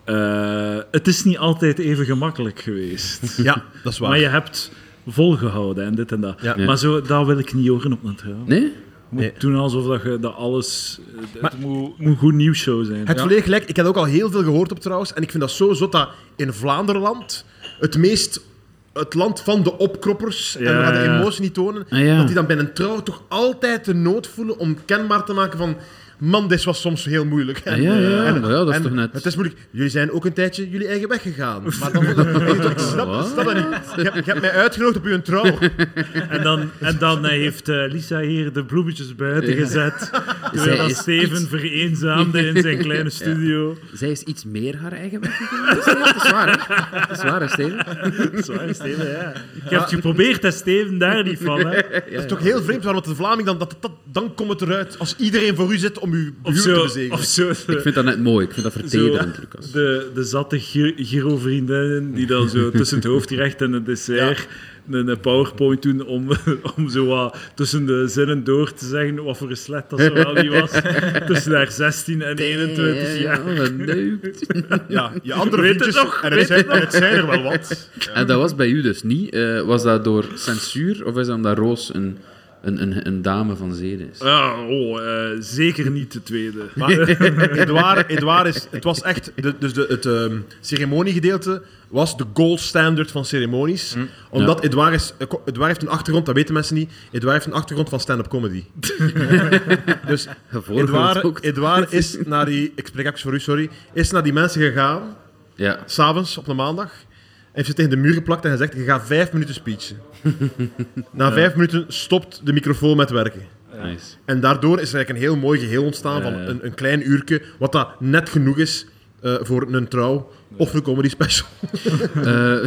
Eh, het is niet altijd even gemakkelijk geweest.
Ja, dat is waar.
Maar je hebt volgehouden en dit en dat.
Ja.
Maar zo, dat wil ik niet horen op een trouw.
Nee?
Je moet
Nee.
doen alsof dat, je, dat alles... eh, Het moet, moet goed nieuwsshow zijn.
Het volledig gelijk. Ik heb ook al heel veel gehoord op trouwens. En ik vind dat zo zot dat in Vlaanderenland het meest het land van de opkroppers
Ja,
en we gaan de
ja.
emotie niet tonen,
Ah, ja.
dat die dan bij een trouw toch altijd de nood voelen om kenbaar te maken van man, dit was soms heel moeilijk.
Ja, Ah, ja, ja.
en-
Maar ja, dat is
en
toch net-
Het is moeilijk. Jullie zijn ook een tijdje jullie eigen weg gegaan. Maar dan, ik snap,
Wat?
snap dat niet. Je, hebt- je hebt mij uitgenodigd op uw trouw.
En dan, en dan eh, heeft eh, Lisa hier de bloemetjes buiten
Ja.
gezet.
Zij
Terwijl dat
is
Steven
iets-
vereenzaamde in zijn kleine studio.
Zij is iets meer haar eigen weg. gegaan. Dat is- dat is waar, hè? Dat is waar, hè, Steven?
Zwaar, Steven, ja. Ik heb het geprobeerd, hè, Steven, daar niet van. Hè.
Dat is toch heel vreemd, waarom het de Vlaming dan... Dat, dat, dan komt het eruit als iedereen voor u zit om uw
Of
buur te
zo.
bezegelen.
Of zo.
Ik vind dat net mooi. Ik vind dat vertederend,
Zo.
Lucas.
De, de zatte Gi- Giro-vriendinnen die dan zo tussen het hoofdgerecht en het dessert een een powerpoint doen om, om zo wat tussen de zinnen door te zeggen wat voor een slet dat ze wel niet was. Tussen haar 16 en 21 jaar.
Ja, wat neukt.
Ja, je andere
Weet het
vriendjes...
nog,
en, het zijn, en het zijn er wel wat.
En dat was bij u dus niet. Eh, was dat door censuur of is dat omdat Roos een, een, een, een dame van zeden is?
Ja, oh, eh, zeker niet de tweede.
Maar eh, Edouard, Edouard is, het was echt, de, dus de, het ehm, ceremoniegedeelte was de gold standard van ceremonies.
Mm.
Omdat Edouard, is, eh, ko- Edouard heeft een achtergrond, dat weten mensen niet, Edouard heeft een achtergrond van stand-up comedy. dus Edouard,
ook.
Edouard is naar die, ik spreek even voor u, sorry, is naar die mensen gegaan,
Ja.
s'avonds op een maandag, en heeft ze tegen de muur geplakt en gezegd, je gaat vijf minuten speechen. Na vijf minuten stopt de microfoon met werken.
Nice.
En daardoor is er eigenlijk een heel mooi geheel ontstaan van
Ja, ja.
een, een klein uurtje, wat dat net genoeg is eh, voor een trouw of een comedy special.
Eh,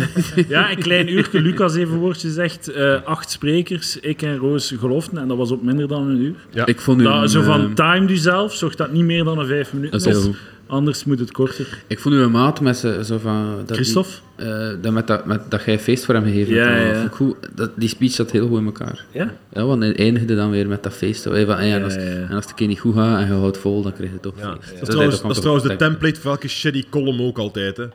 Ja, een klein uurtje. Lucas even woordje zegt. eh, acht sprekers, ik en Roos geloften. En dat was op minder dan een uur.
ik vond u...
Dat, Nou, zo
een, eh,
van time u zelf, zorg dat het niet meer dan een vijf
dat is
minuten
heel
is.
goed.
Anders moet het korter.
Ik vond u een maat met ze, zo van... Dat die-
Christophe?
eh, dat, met dat, met, dat jij feest voor hem gegeven
Ja,
hebt.
ja.
Vond ik goed. Dat, die speech zat heel goed in elkaar.
Ja?
Ja, want hij eindigde dan weer met dat feest. Zo, eh, van, eh, en,
Ja,
als,
ja, ja.
en als het een keer niet goed gaat en je houdt vol, dan krijg je toch feest.
Dat is trouwens,
kwam
dat is
toch-
trouwens de template voor elke shitty column ook altijd. Hè.
Nog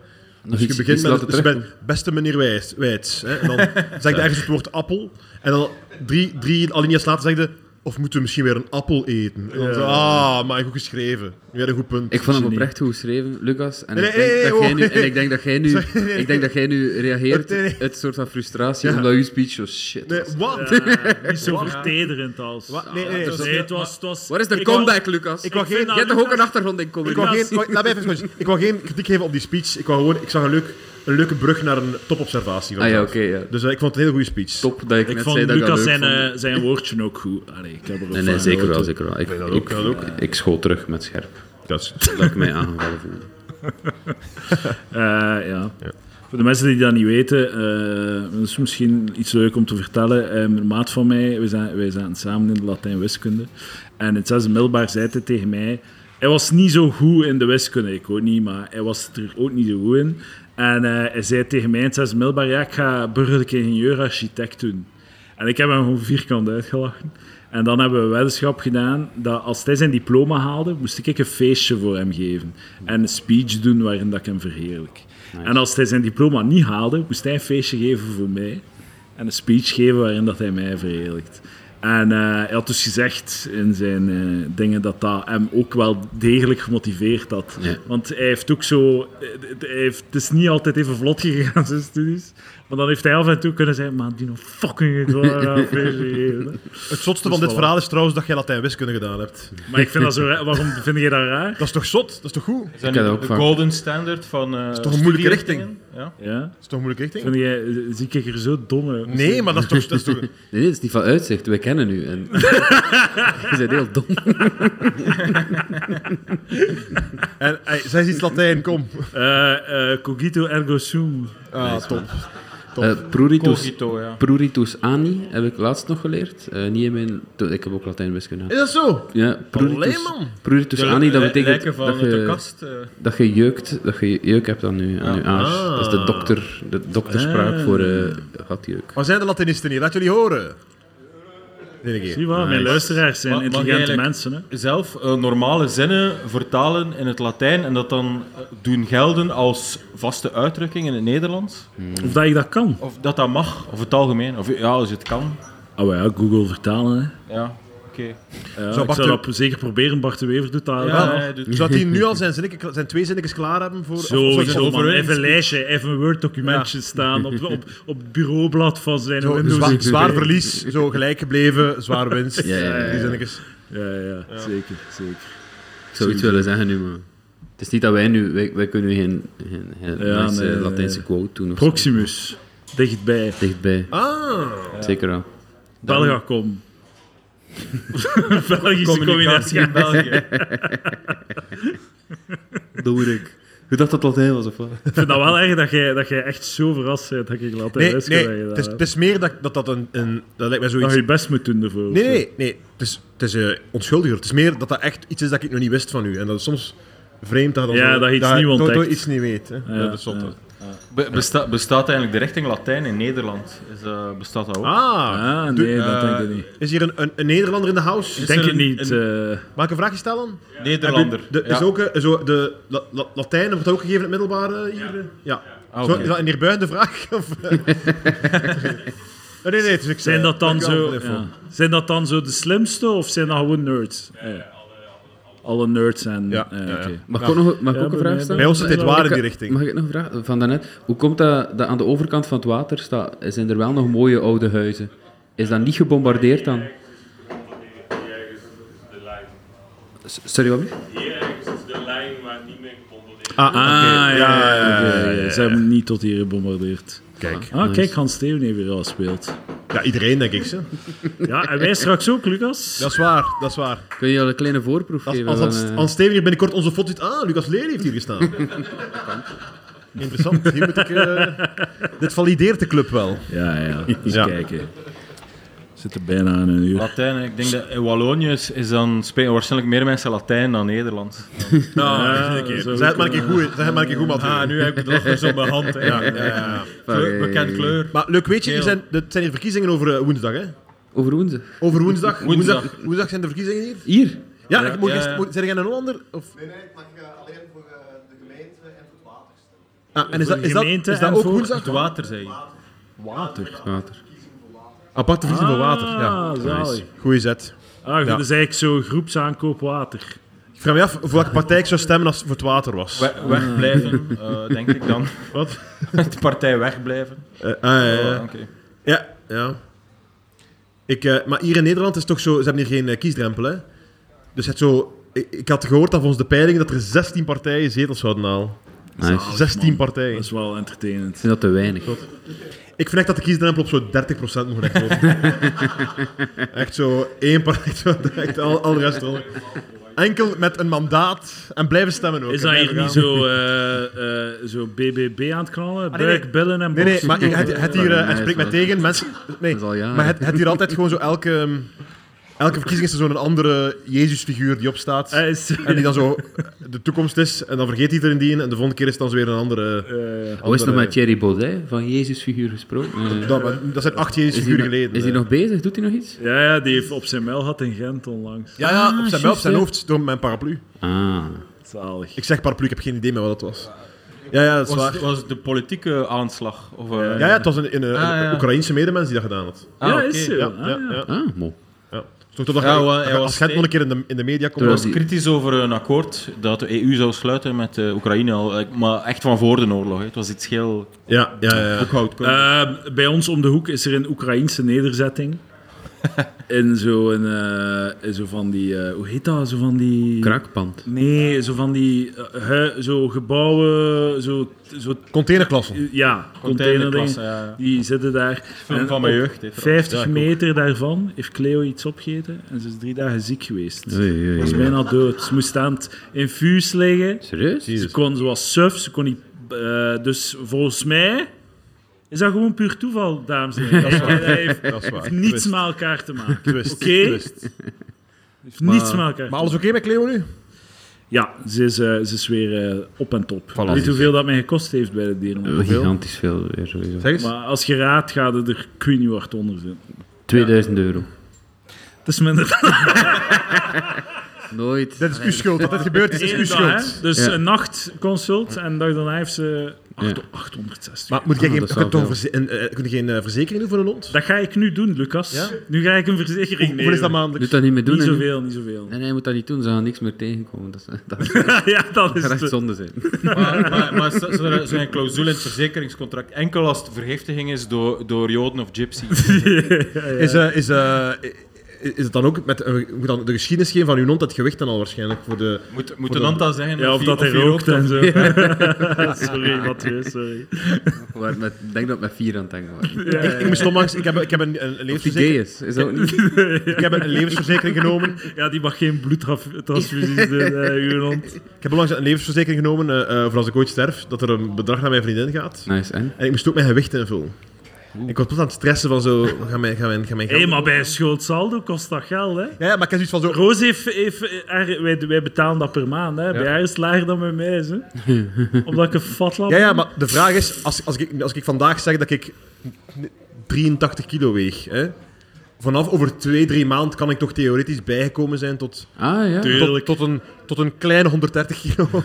Dus je
iets-
begint
iets
met
laten
dus je
terugkomen.
bent beste meneer Wijs, Wijts. Hè. En dan zeg je ergens het woord appel. En dan drie, drie alinea's later zeg je, of moeten we misschien weer een appel eten? En dan zo, ah, maar goed geschreven. Weer een goed punt.
Ik vond hem
Genie.
oprecht goed geschreven, Lucas. En,
Nee,
ik, denk
nee, nee,
dat jij
oh.
nu, en ik denk dat jij nu,
Sorry, nee,
ik denk dat jij nu reageert
Nee, nee.
uit een soort van frustratie,
Ja.
omdat uw speech zo shit
Nee,
was.
wat?
Ja, niet zo vertederend als.
Wat? Nee, nee, nee.
Dus
dat-
nee, het was, het was,
Wat is de
ik
comeback, Lucas?
ik wou
vind
geen-
dat
Jij hebt toch ook
Lucas-
een achtergrond in comedy?
Ik wou,
Lucas.
geen, wou- laat mij even gewoon- ik wou geen kritiek geven op die speech. Ik, wou gewoon, ik zag een, leuk, een leuke brug naar een topobservatie. van
Ah ja,
mezelf.
oké. ja.
Dus eh, ik vond het een heel goede speech.
Top dat ik,
Ik
net
vond
zei dat ik dat
Lucas
leuk
zijn,
vond.
eh, zijn woordje ook goed. Allee, ik heb er
Nee, nee, zeker wel, zeker wel. Ik,
dat
ik,
ook, dat ook.
eh, ik schoot terug met scherp,
Dat is-
dat ik mij aangevallen voelde.
Eh, ja. Voor de mensen die dat niet weten, eh dat is misschien iets leuk om te vertellen. Eh, een maat van mij, wij, zijn, wij zaten samen in de Latijn-wiskunde. En in het zesde middelbaar zei hij tegen mij... Hij was niet zo goed in de wiskunde, ik ook niet, maar hij was er ook niet zo goed in. En eh, hij zei tegen mij in het zesde middelbaar, ja, ik ga burgerlijk ingenieur-architect doen. En ik heb hem gewoon vierkant uitgelachen. En dan hebben we een weddenschap gedaan dat als hij zijn diploma haalde, moest ik een feestje voor hem geven. En een speech doen waarin dat ik hem verheerlijk. En als hij zijn diploma niet haalde, moest hij een feestje geven voor mij. En een speech geven waarin dat hij mij verheerlijkt. En eh, hij had dus gezegd in zijn eh, dingen dat dat hem ook wel degelijk gemotiveerd had.
Ja.
Want hij heeft ook zo... eh, Hij heeft, het is niet altijd even vlot gegaan, zijn studies. Maar dan heeft hij af en toe kunnen zeggen... Man, die nog fucking gewoon
Het zotste
Dus
van dit
voilà.
verhaal is trouwens dat jij Latijn-wiskunde gedaan hebt.
Maar ik vind dat zo raar. Waarom vind jij dat raar?
Dat is toch zot? Dat is toch goed? Dat
Is dat
Ik had
niet
ook
de
vaak-
golden standard van... eh
toch een moeilijke
studierichtingen? Ja.
Ja?
is toch een moeilijke richting?
Vind jij, eh, zie ik er zo dom uit?
Nee, maar dat is toch... Dat is toch
Nee, nee, dat is niet van uitzicht. Wij kennen u. En... Je bent heel dom.
en, ey, zij is iets Latijn, kom.
Eh, eh, cogito ergo sum.
Ah, top. Top.
Eh pruritus,
Cogito, ja.
pruritus ani heb ik laatst nog geleerd. Eh, niet in mijn... Ik heb ook Latijn wiskunde
is dat zo?
Ja, pruritus,
Allee, man.
pruritus
De
ani, dat
li-
betekent
lijken van
dat
de
je,
kast. eh,
dat je jeukt, dat je jeuk hebt aan je, aan je aars.
Ah.
Dat is de, dokter, de dokterspraak voor eh gatjeuk.
Waar zijn de Latinisten hier? Laat jullie horen. Nee, een keer.
Zie je wel, mijn
Nice.
luisteraars zijn
Mag- mag
intelligente
eigenlijk-
mensen. Hè?
zelf eh, normale zinnen vertalen in het Latijn en dat dan eh, doen gelden als vaste uitdrukking in het Nederlands.
Of dat ik dat kan.
Of dat dat mag, of het algemeen. Of ja, als je het kan.
Oh ja, Google vertalen. Hè.
Ja.
Ja,
Zou
ik
Bart
zou
de-
dat zeker proberen. Bart de Wever doet dat.
Ja,
wel.
hij doet-
Zodat hij nu al zijn, zinnetje- zijn twee zinnetjes klaar hebben voor... of- of- of-
Sowieso,
of-
man. Even een lijstje, even een Word-documentje staan op, op, op het bureaublad van zijn
Zo, dus
Windows.
zwa- zwaar verlies, zo gelijk gebleven, zwaar winst.
Ja, ja, ja, ja.
Die zinnetjes.
Ja, ja, zeker, zeker.
Ik zou iets willen zeggen nu, maar... Het is niet dat wij nu... Wij, wij kunnen geen, geen, geen
Ja,
nice,
nee,
eh, Latijnse
nee.
quote doen. of zo.
Proximus, dichtbij.
Dichtbij,
Ah,
zeker wel.
Belgacom. Belgische
communicatie
combinatie.
in België.
Doe ik.
Je dacht dat Latijn was, of wat?
Ik vind dat wel erg dat jij, dat jij echt zo verrast bent dat ik laat
nee,
rest
nee.
gedaan
Het is,
heb.
het is meer dat, dat dat een, een... Dat lijkt mij
Dat
zoiets...
je je best moet doen ervoor.
Nee, nee, nee. Het is, het is eh, onschuldiger. Het is meer dat dat echt iets is dat ik nog niet wist van u. En dat is soms vreemd dat, dan
Ja,
zo-
dat je iets
je
nieuw
toch- toch
ontdekt.
iets niet weet. Hè. Ja, dat is zotte.
ja.
besta bestaat eigenlijk de richting Latijn in Nederland? Is, eh, bestaat dat ook?
Ah,
Ah,
Doe-
nee, dat denk ik niet.
is hier een, een, een Nederlander in de house?
Ik
Eh, is
denk
er
het
een-
niet. eh,
Mag ik een vraagje stellen?
Nederlander.
De,
Ja.
is ook, eh, zo, de la, la- Latijn wordt ook gegeven in het middelbare hier? eh? Ja.
Ah,
Zo,
oké.
is dat een neerbuigende vraag? Of, eh? nee, nee. Dus ik,
zijn,
eh,
dat dan
dank u wel
zo,
voor de info.
ja. zijn dat dan zo de slimste of zijn dat gewoon nerds? Ja, alle nerds en...
Ja,
eh,
ja, ja.
oké.
Mag ik, ook, nog, mag ik
Ja,
ook
bij
een
mij-
vraag stellen?
Bij ons zit dit waar in die
Kan-
richting.
Mag ik nog vragen van daarnet? Hoe komt dat, dat aan de overkant van het water staat, zijn er wel nog mooie oude huizen? Is dat niet gebombardeerd dan? S- Sorry, wat? blieft?
Hier ergens is de lijn waar niet mee gebombardeerd
Ah,
Ah, ja, ja, ja,
ja,
ja, ja. Ze hebben niet tot hier gebombardeerd.
Kijk.
Ah,
Nice.
kijk, Hans Steeuwen heeft weer al speelt.
Ja, iedereen denk ik. Hè.
Ja, en wij straks ook, Lucas.
Dat is waar, dat is waar.
Kun je al een kleine voorproef
Als,
geven?
als, als,
van, eh,
Hans Steven hier binnenkort onze foto ziet, ah, Lucas Lely heeft hier gestaan. Interessant. Hier moet ik, eh, dit valideert de club wel.
Ja, ja. Eens
Ja.
kijken. Zit er bijna aan een uur.
Latijn, hè. ik denk dat in Wallonië is, is dan spelen waarschijnlijk meer mensen Latijn dan Nederlands.
Ja,
Zeg
zo
het maar een keer goed, hè. zeg het maar een keer goed, Mathieu.
Ah, nu heb ik de lach zo op mijn hand.
Ja, ja, ja.
Kleur- bekend
kleur.
Maar leuk, weet je, er
Heel.
zijn, er zijn hier verkiezingen over eh, woensdag, hè?
Over woensdag.
Over woensdag.
Woensdag.
Woensdag, zijn de verkiezingen hier.
Hier?
Ja, ik moet
ja,
eerst-
ja.
moet- zijn jij een Hollander? Of,
Nee, nee, maar je alleen voor eh, de gemeente en voor het water stemmen.
ah, en is dat,
de
is dat,
gemeente
is dat
en
ook
voor-
woensdag?
Het water, zei je.
Water.
Aparte verkiezing voor water, ja.
Ah, zalig.
Goeie zet.
Ah, goed,
Ja.
dat is eigenlijk zo groepsaankoop water.
Ik vraag me af voor welke partij ik zou stemmen als het voor het water was.
We- wegblijven, eh, denk ik dan.
Wat?
De partij wegblijven.
Eh, ah, ja, ja, ja.
Oh, oké.
Ja, ja. Ik, eh, maar hier in Nederland is het toch zo, ze hebben hier geen eh, kiesdrempel, hè? Dus het zo, ik, ik had gehoord dat volgens de peilingen dat er 16 partijen zetels zouden halen.
Nice. Ik
16
man. Dat
partijen.
is wel entertainend.
vind dat te weinig.
Ik vind echt dat de kiesdrempel op zo'n 30% moet echt worden. echt zo, één partij, echt zo, echt al, al de rest eronder. Enkel met een mandaat en blijven stemmen ook.
Is
hè,
dat hier niet
blijven gaan.
zo, eh, eh, zo BBB aan het knallen?
Ah, nee, nee.
Buik, billen en
Nee, nee,
borst?
maar ik- het, het hier, eh,
Nee,
het spreekt mij
dat-
tegen, mensen... Nee,
Dat is al jaren.
Maar het, het hier altijd gewoon zo elke... ehm, Elke verkiezing is er zo'n andere Jezusfiguur die opstaat.
Ah, is-
En die dan zo de toekomst is. En dan vergeet iedereen die. En de volgende keer is het dan zo weer een andere.
Eh,
Hoe is het nog
andere-
met Thierry Baudet, van Jezusfiguur gesproken? Eh,
Dat, maar dat zijn acht
is hij
Jezusfiguren
nog-
geleden.
Is hij
hè.
nog bezig? Doet hij nog iets?
ja, ja, die heeft op zijn mijl gehad in Gent onlangs.
Ja, ja, op zijn, wel op zijn
hè.
hoofd. Door mijn paraplu.
Ah.
Zalig.
Ik zeg paraplu, ik heb geen idee meer wat dat was. Ja, ja, dat is
Was,
waar.
het- was het de politieke aanslag? Of, eh,
Ja, ja, het was een, een, een
ja.
Oekraïense medemens die dat gedaan had.
ah,
ja,
oké.
is zo.
Ja, eh,
Ah,
ja, ja.
Ah, mooi.
ja. Toch totdat
Ja,
je-
wel, hij
dat je
was
als Gent nog een keer in de, in de media komt.
Toen
Hij
was
was kritisch over een akkoord dat de EU zou sluiten met eh, Oekraïne, al, eh, maar echt van voor de oorlog. hè. Het was iets heel
Ja, ja, ja. ja.
boekhoud.
Eh, bij ons om de hoek is er een Oekraïense nederzetting. in zo'n... eh, in zo van die... eh, hoe heet dat? Zo van die...
Krakpand.
Nee, zo van die eh, hui- zo gebouwen, zo, zo
Containerklassen.
ja, containerdingen.
Containerklassen, ja, ja.
Die zitten daar.
Film
En
van mijn
op
jeugd. hè, trouwens.
50 meter daarvan heeft Cleo iets opgegeten en ze is drie dagen ziek geweest.
Oei, oei,
Ze is
oei.
bijna dood. Ze moest aan het infuus liggen.
Serieus?
Ze, kon, ze was suf, ze kon niet... eh, dus volgens mij is dat gewoon puur toeval, dames en heren. Dat, heeft
Dat is waar.
niets
Twist,
met elkaar te maken.
twist,
Oké?
twist.
Heeft niets met elkaar
Maar alles oké met Cleo nu?
Ja, ze is, eh, ze is weer eh, op en top.
Voilà.
Weet hoeveel dat mij gekost heeft bij de dieren?
Gigantisch veel weer sowieso.
Zeg eens.
Maar als je raadt, gaat het er ik weet niet hard onder zitten.
2000 euro.
Het is minder.
Nooit.
Dit is uw schuld. Dat dit gebeurt is, is uw
Eén dag,
schuld.
hè? Dus
Ja.
een nachtconsult en dag daarna heeft ze acht-
Ja.
860.
Maar moet jij
Ah,
geen,
dat
je
zou
kunt toch
wel.
verze- een, eh, kun je geen eh, verzekering doen voor een hond?
Dat ga ik nu doen, Lucas.
Ja?
Nu ga ik een verzekering nemen.
Hoeveel is dat
Moet
maandelijks?
dat niet meer doen.
Niet
en-
zoveel, niet zoveel.
Nee, nee, je moet dat niet doen. Ze gaan niks meer tegenkomen. Dat, is- dat is-
ja, dat is
dat gaat echt
het.
zonde zijn.
Maar, maar, maar sta- zou er- zou een clausule in het verzekeringscontract enkel als het vergiftiging is door, door Joden of Gypsies?
Is, eh, is, eh, is het dan ook met eh, moet dan de geschiedenis geven van uw hond dat gewicht dan al waarschijnlijk voor de...
Moet, moet een Anta zeggen
Ja, of
hij-
dat hij
hij
rookt en
of-
zo. sorry, Mathieu, sorry.
Waar met, ik denk dat we met vier aan het hangen waren.
Ja,
Ik, ik moest onlangs, ik heb, ik heb een, een,
Of die gay
levensverzekering,
is. Is dat ook niet?
ik heb een, een levensverzekering genomen.
Ja, die mag geen bloedtransfusies doen, eh, uw hond.
Ik heb onlangs een levensverzekering genomen eh, eh, voor als ik ooit sterf, dat er een bedrag naar mijn vriendin gaat.
Nice, en?
En ik moest ook mijn gewicht invullen. Ik was tot aan het stressen van zo, ga mijn, ga mijn, ga mijn
Hé, hey, maar bij een schuldsaldo kost dat geld, hè?
Ja, ja, maar ik heb zoiets van zo...
Roos heeft, heeft eh, haar- wij, wij betalen dat per maand. Hè. Bij haar is het lager dan bij mij. is, Hè. Omdat ik een fatlap
Ja, ja, maar de vraag is, als, als, ik, als ik vandaag zeg dat ik 83 kilo weeg, hè, vanaf over 2, 3 maanden kan ik toch theoretisch bijgekomen zijn tot,
Ah, ja.
Tuurlijk.
tot, tot, een, tot een kleine 130 kilo.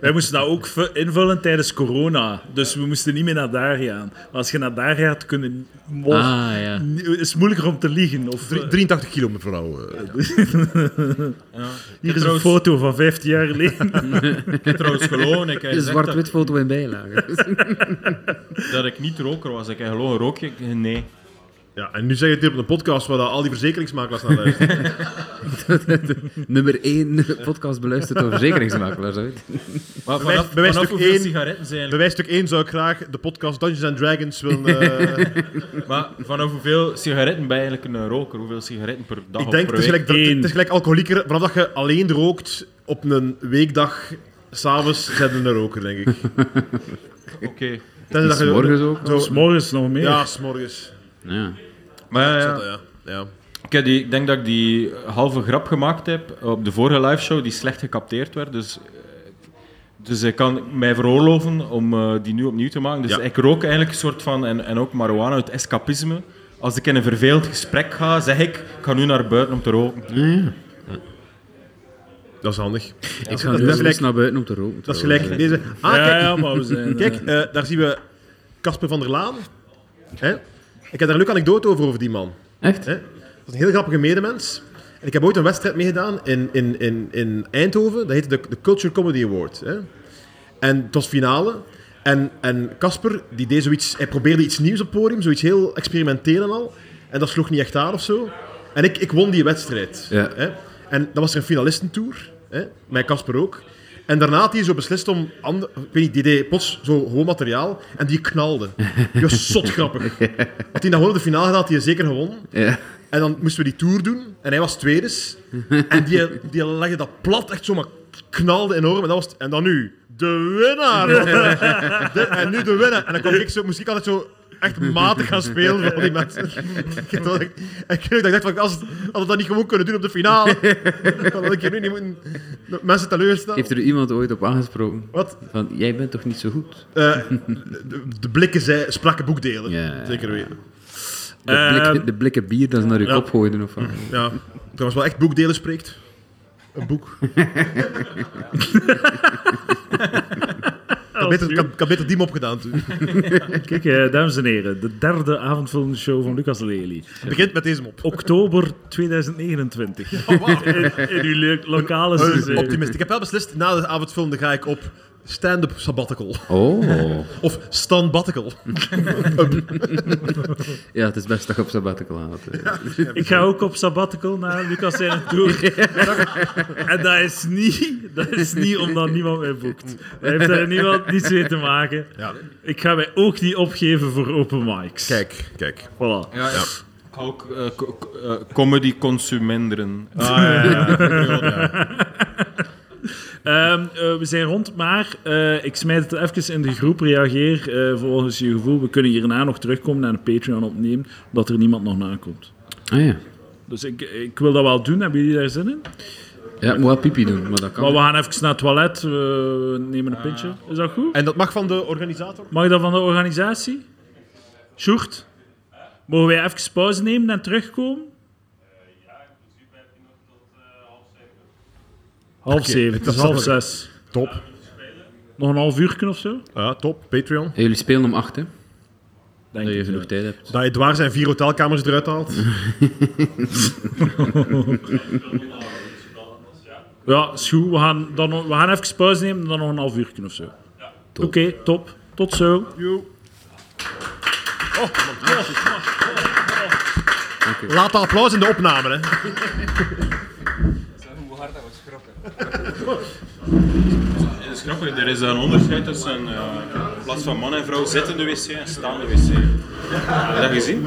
Wij moesten dat ook vu- invullen tijdens corona. Dus we moesten niet meer naar daar gaan. Maar als je naar daar gaat, kunnen... Wow,
Ah, ja.
ni- is het moeilijker om te liegen. Of, eh,
Drie- 83 kilo, mevrouw. eh.
hier is een
trouwens-
foto van 15 jaar geleden.
Ik heb trouwens gelogen. Ik heb
Een
gezegd dat,
zwart-wit foto in bijlage.
dat ik niet roker was. Ik heb gelogen. Rook je? Nee.
Ja, en nu zeg je het hier op een podcast waar dat al die verzekeringsmakelaars naar luisteren.
Nummer 1 podcast beluisterd door verzekeringsmakelaars. hè.
Maar
Bewijs-
vanaf,
bewijs
vanaf
stuk
hoeveel
één.
sigaretten zijn
Bij wijze stuk 1 zou ik graag de podcast Dungeons and Dragons willen... eh,
Maar vanaf hoeveel sigaretten ben je eigenlijk een roker? Hoeveel sigaretten per dag
ik
of
denk,
per
het is,
week?
gelijk, dra-
Eén.
het is gelijk alcoholieker. Vanaf dat je alleen rookt op een weekdag, s'avonds, zijn we een roker, denk ik.
Oké.
Tenzij dat je-
Morgens ook.
Zo,
Dus morgens nog meer.
Oh. Ja, s'morgens.
Nou Ja.
Maar ja,
Ja.
ja.
Ja. Ja.
Ik, heb die, ik denk dat ik die halve grap gemaakt heb op de vorige liveshow die slecht gecapteerd werd. Dus, eh, dus ik kan mij veroorloven om eh, die nu opnieuw te maken. Dus
Ja.
ik rook eigenlijk een soort van, en, en ook marijuana, het escapisme. Als ik in een verveeld gesprek ga, zeg ik, ik ga nu naar buiten om te roken.
Dat is handig.
Ik ga
dat
nu
is
eens
gelijk-
naar buiten om te roken.
Dat is
trouwens,
gelijk
hè.
deze. Ah,
dus ja,
kijk,
ja, maar we zijn... eh,
kijk eh, daar zien we Casper van der Laan. Hè? Ik heb daar een leuke anekdote over, over die man.
Echt?
Hè? Dat is een heel grappige medemens. En ik heb ooit een wedstrijd meegedaan in, in, in, in Eindhoven. Dat heette de, de Culture Comedy Award. Hè? En het was finale. En en Casper, die deed zoiets... Hij probeerde iets nieuws op het podium. Zoiets heel experimenteel en al. En dat sloeg niet echt aan of zo. En ik, ik won die wedstrijd.
Ja.
Hè? En dan was er een finalistentour. Hè? Met Casper ook. En daarna had hij zo beslist om... ander- ik weet niet, die deed plots zo gewoon materiaal. En die knalde. Die was zot grappig. Had hij dat gewoon op de finale gedaan, had hij zeker gewonnen.
Ja.
En dan moesten we die tour doen. En hij was tweedes. En die, die legde dat plat echt zomaar knalde enorm. En, dat was het- en dan nu de winnaar. De- en nu de winnaar. En dan kwam ik zo, moest ik altijd zo echt matig gaan spelen voor al die mensen. Ik dacht- ik- en ik weet dat ik dacht, van, als, als we dat niet gewoon kunnen doen op de finale, dan had ik hier nu niet moeten de mensen teleurstellen.
Heeft er iemand ooit op aangesproken?
Wat?
Van, jij bent toch niet zo goed?
Eh, de, de blikken zei, spraken boekdelen.
Ja.
Zeker weten.
De,
Ehm,
blik- de blikken bier dat ze naar je
ja.
kop gooiden of wat?
Ja. Trouwens, wel echt boekdelen spreekt. Een boek. Ik had
Oh,
beter, ik had- ik had beter die mop gedaan toen. Het
Kijk, eh, dames en heren, de derde avondvullende show van Lucas Lely.
begint met deze mop.
Oktober 2029. in, in uw le- lokale
Een
museum.
optimist. Ik heb wel beslist, na de avondfilm dan ga ik op stand-up sabbatical.
Oh.
Of standbatical.
Ja, het is best dat je op sabbatical had. hè.
Ik ga ook op sabbatical naar Lucas zijn tour. en dat is, niet, dat is niet omdat niemand mij boekt. Dat heeft daar niemand niets mee te maken.
Ja.
Ik ga mij ook niet opgeven voor open mics.
Kijk, kijk.
Voilà.
Ja, ja. Ik ga ook eh, co- co- eh, comedy consumenderen.
Ehm, eh, we zijn rond, maar eh, ik smijt het even in de groep. Reageer eh, volgens je gevoel. We kunnen hierna nog terugkomen naar een Patreon opnemen, omdat er niemand nog nakomt.
Ah ja.
Dus ik, ik wil dat wel doen. Hebben jullie daar zin in?
Ja, ik moet wel pipi doen, maar dat kan.
Maar we gaan even naar het toilet. We nemen een pintje. Is dat goed?
En dat mag van de organisator?
Mag dat van de organisatie? Sjoerd? Mogen wij even pauze nemen en terugkomen?
Ja, in principe heb je nog tot eh, half zeven.
Half
Oké,
zeven, het
dat
is
is
half
nog-
zes.
Top.
Nog een half uur of zo?
Ja, top. Patreon.
En jullie spelen om acht, hè?
Denk
Dat je
ik.
genoeg tijd hebt.
Dat Edouard zijn vier hotelkamers eruit haalt.
Ja, is goed. We gaan, dan, nog- we gaan even pauze nemen en dan nog een half uur of zo. Oké, top. Tot zo.
Laat dat applaus in de opname, hè.
Het is grappig, er is een onderscheid tussen eh, in plaats van man en vrouw zittende wc en staande wc. Heb je dat gezien?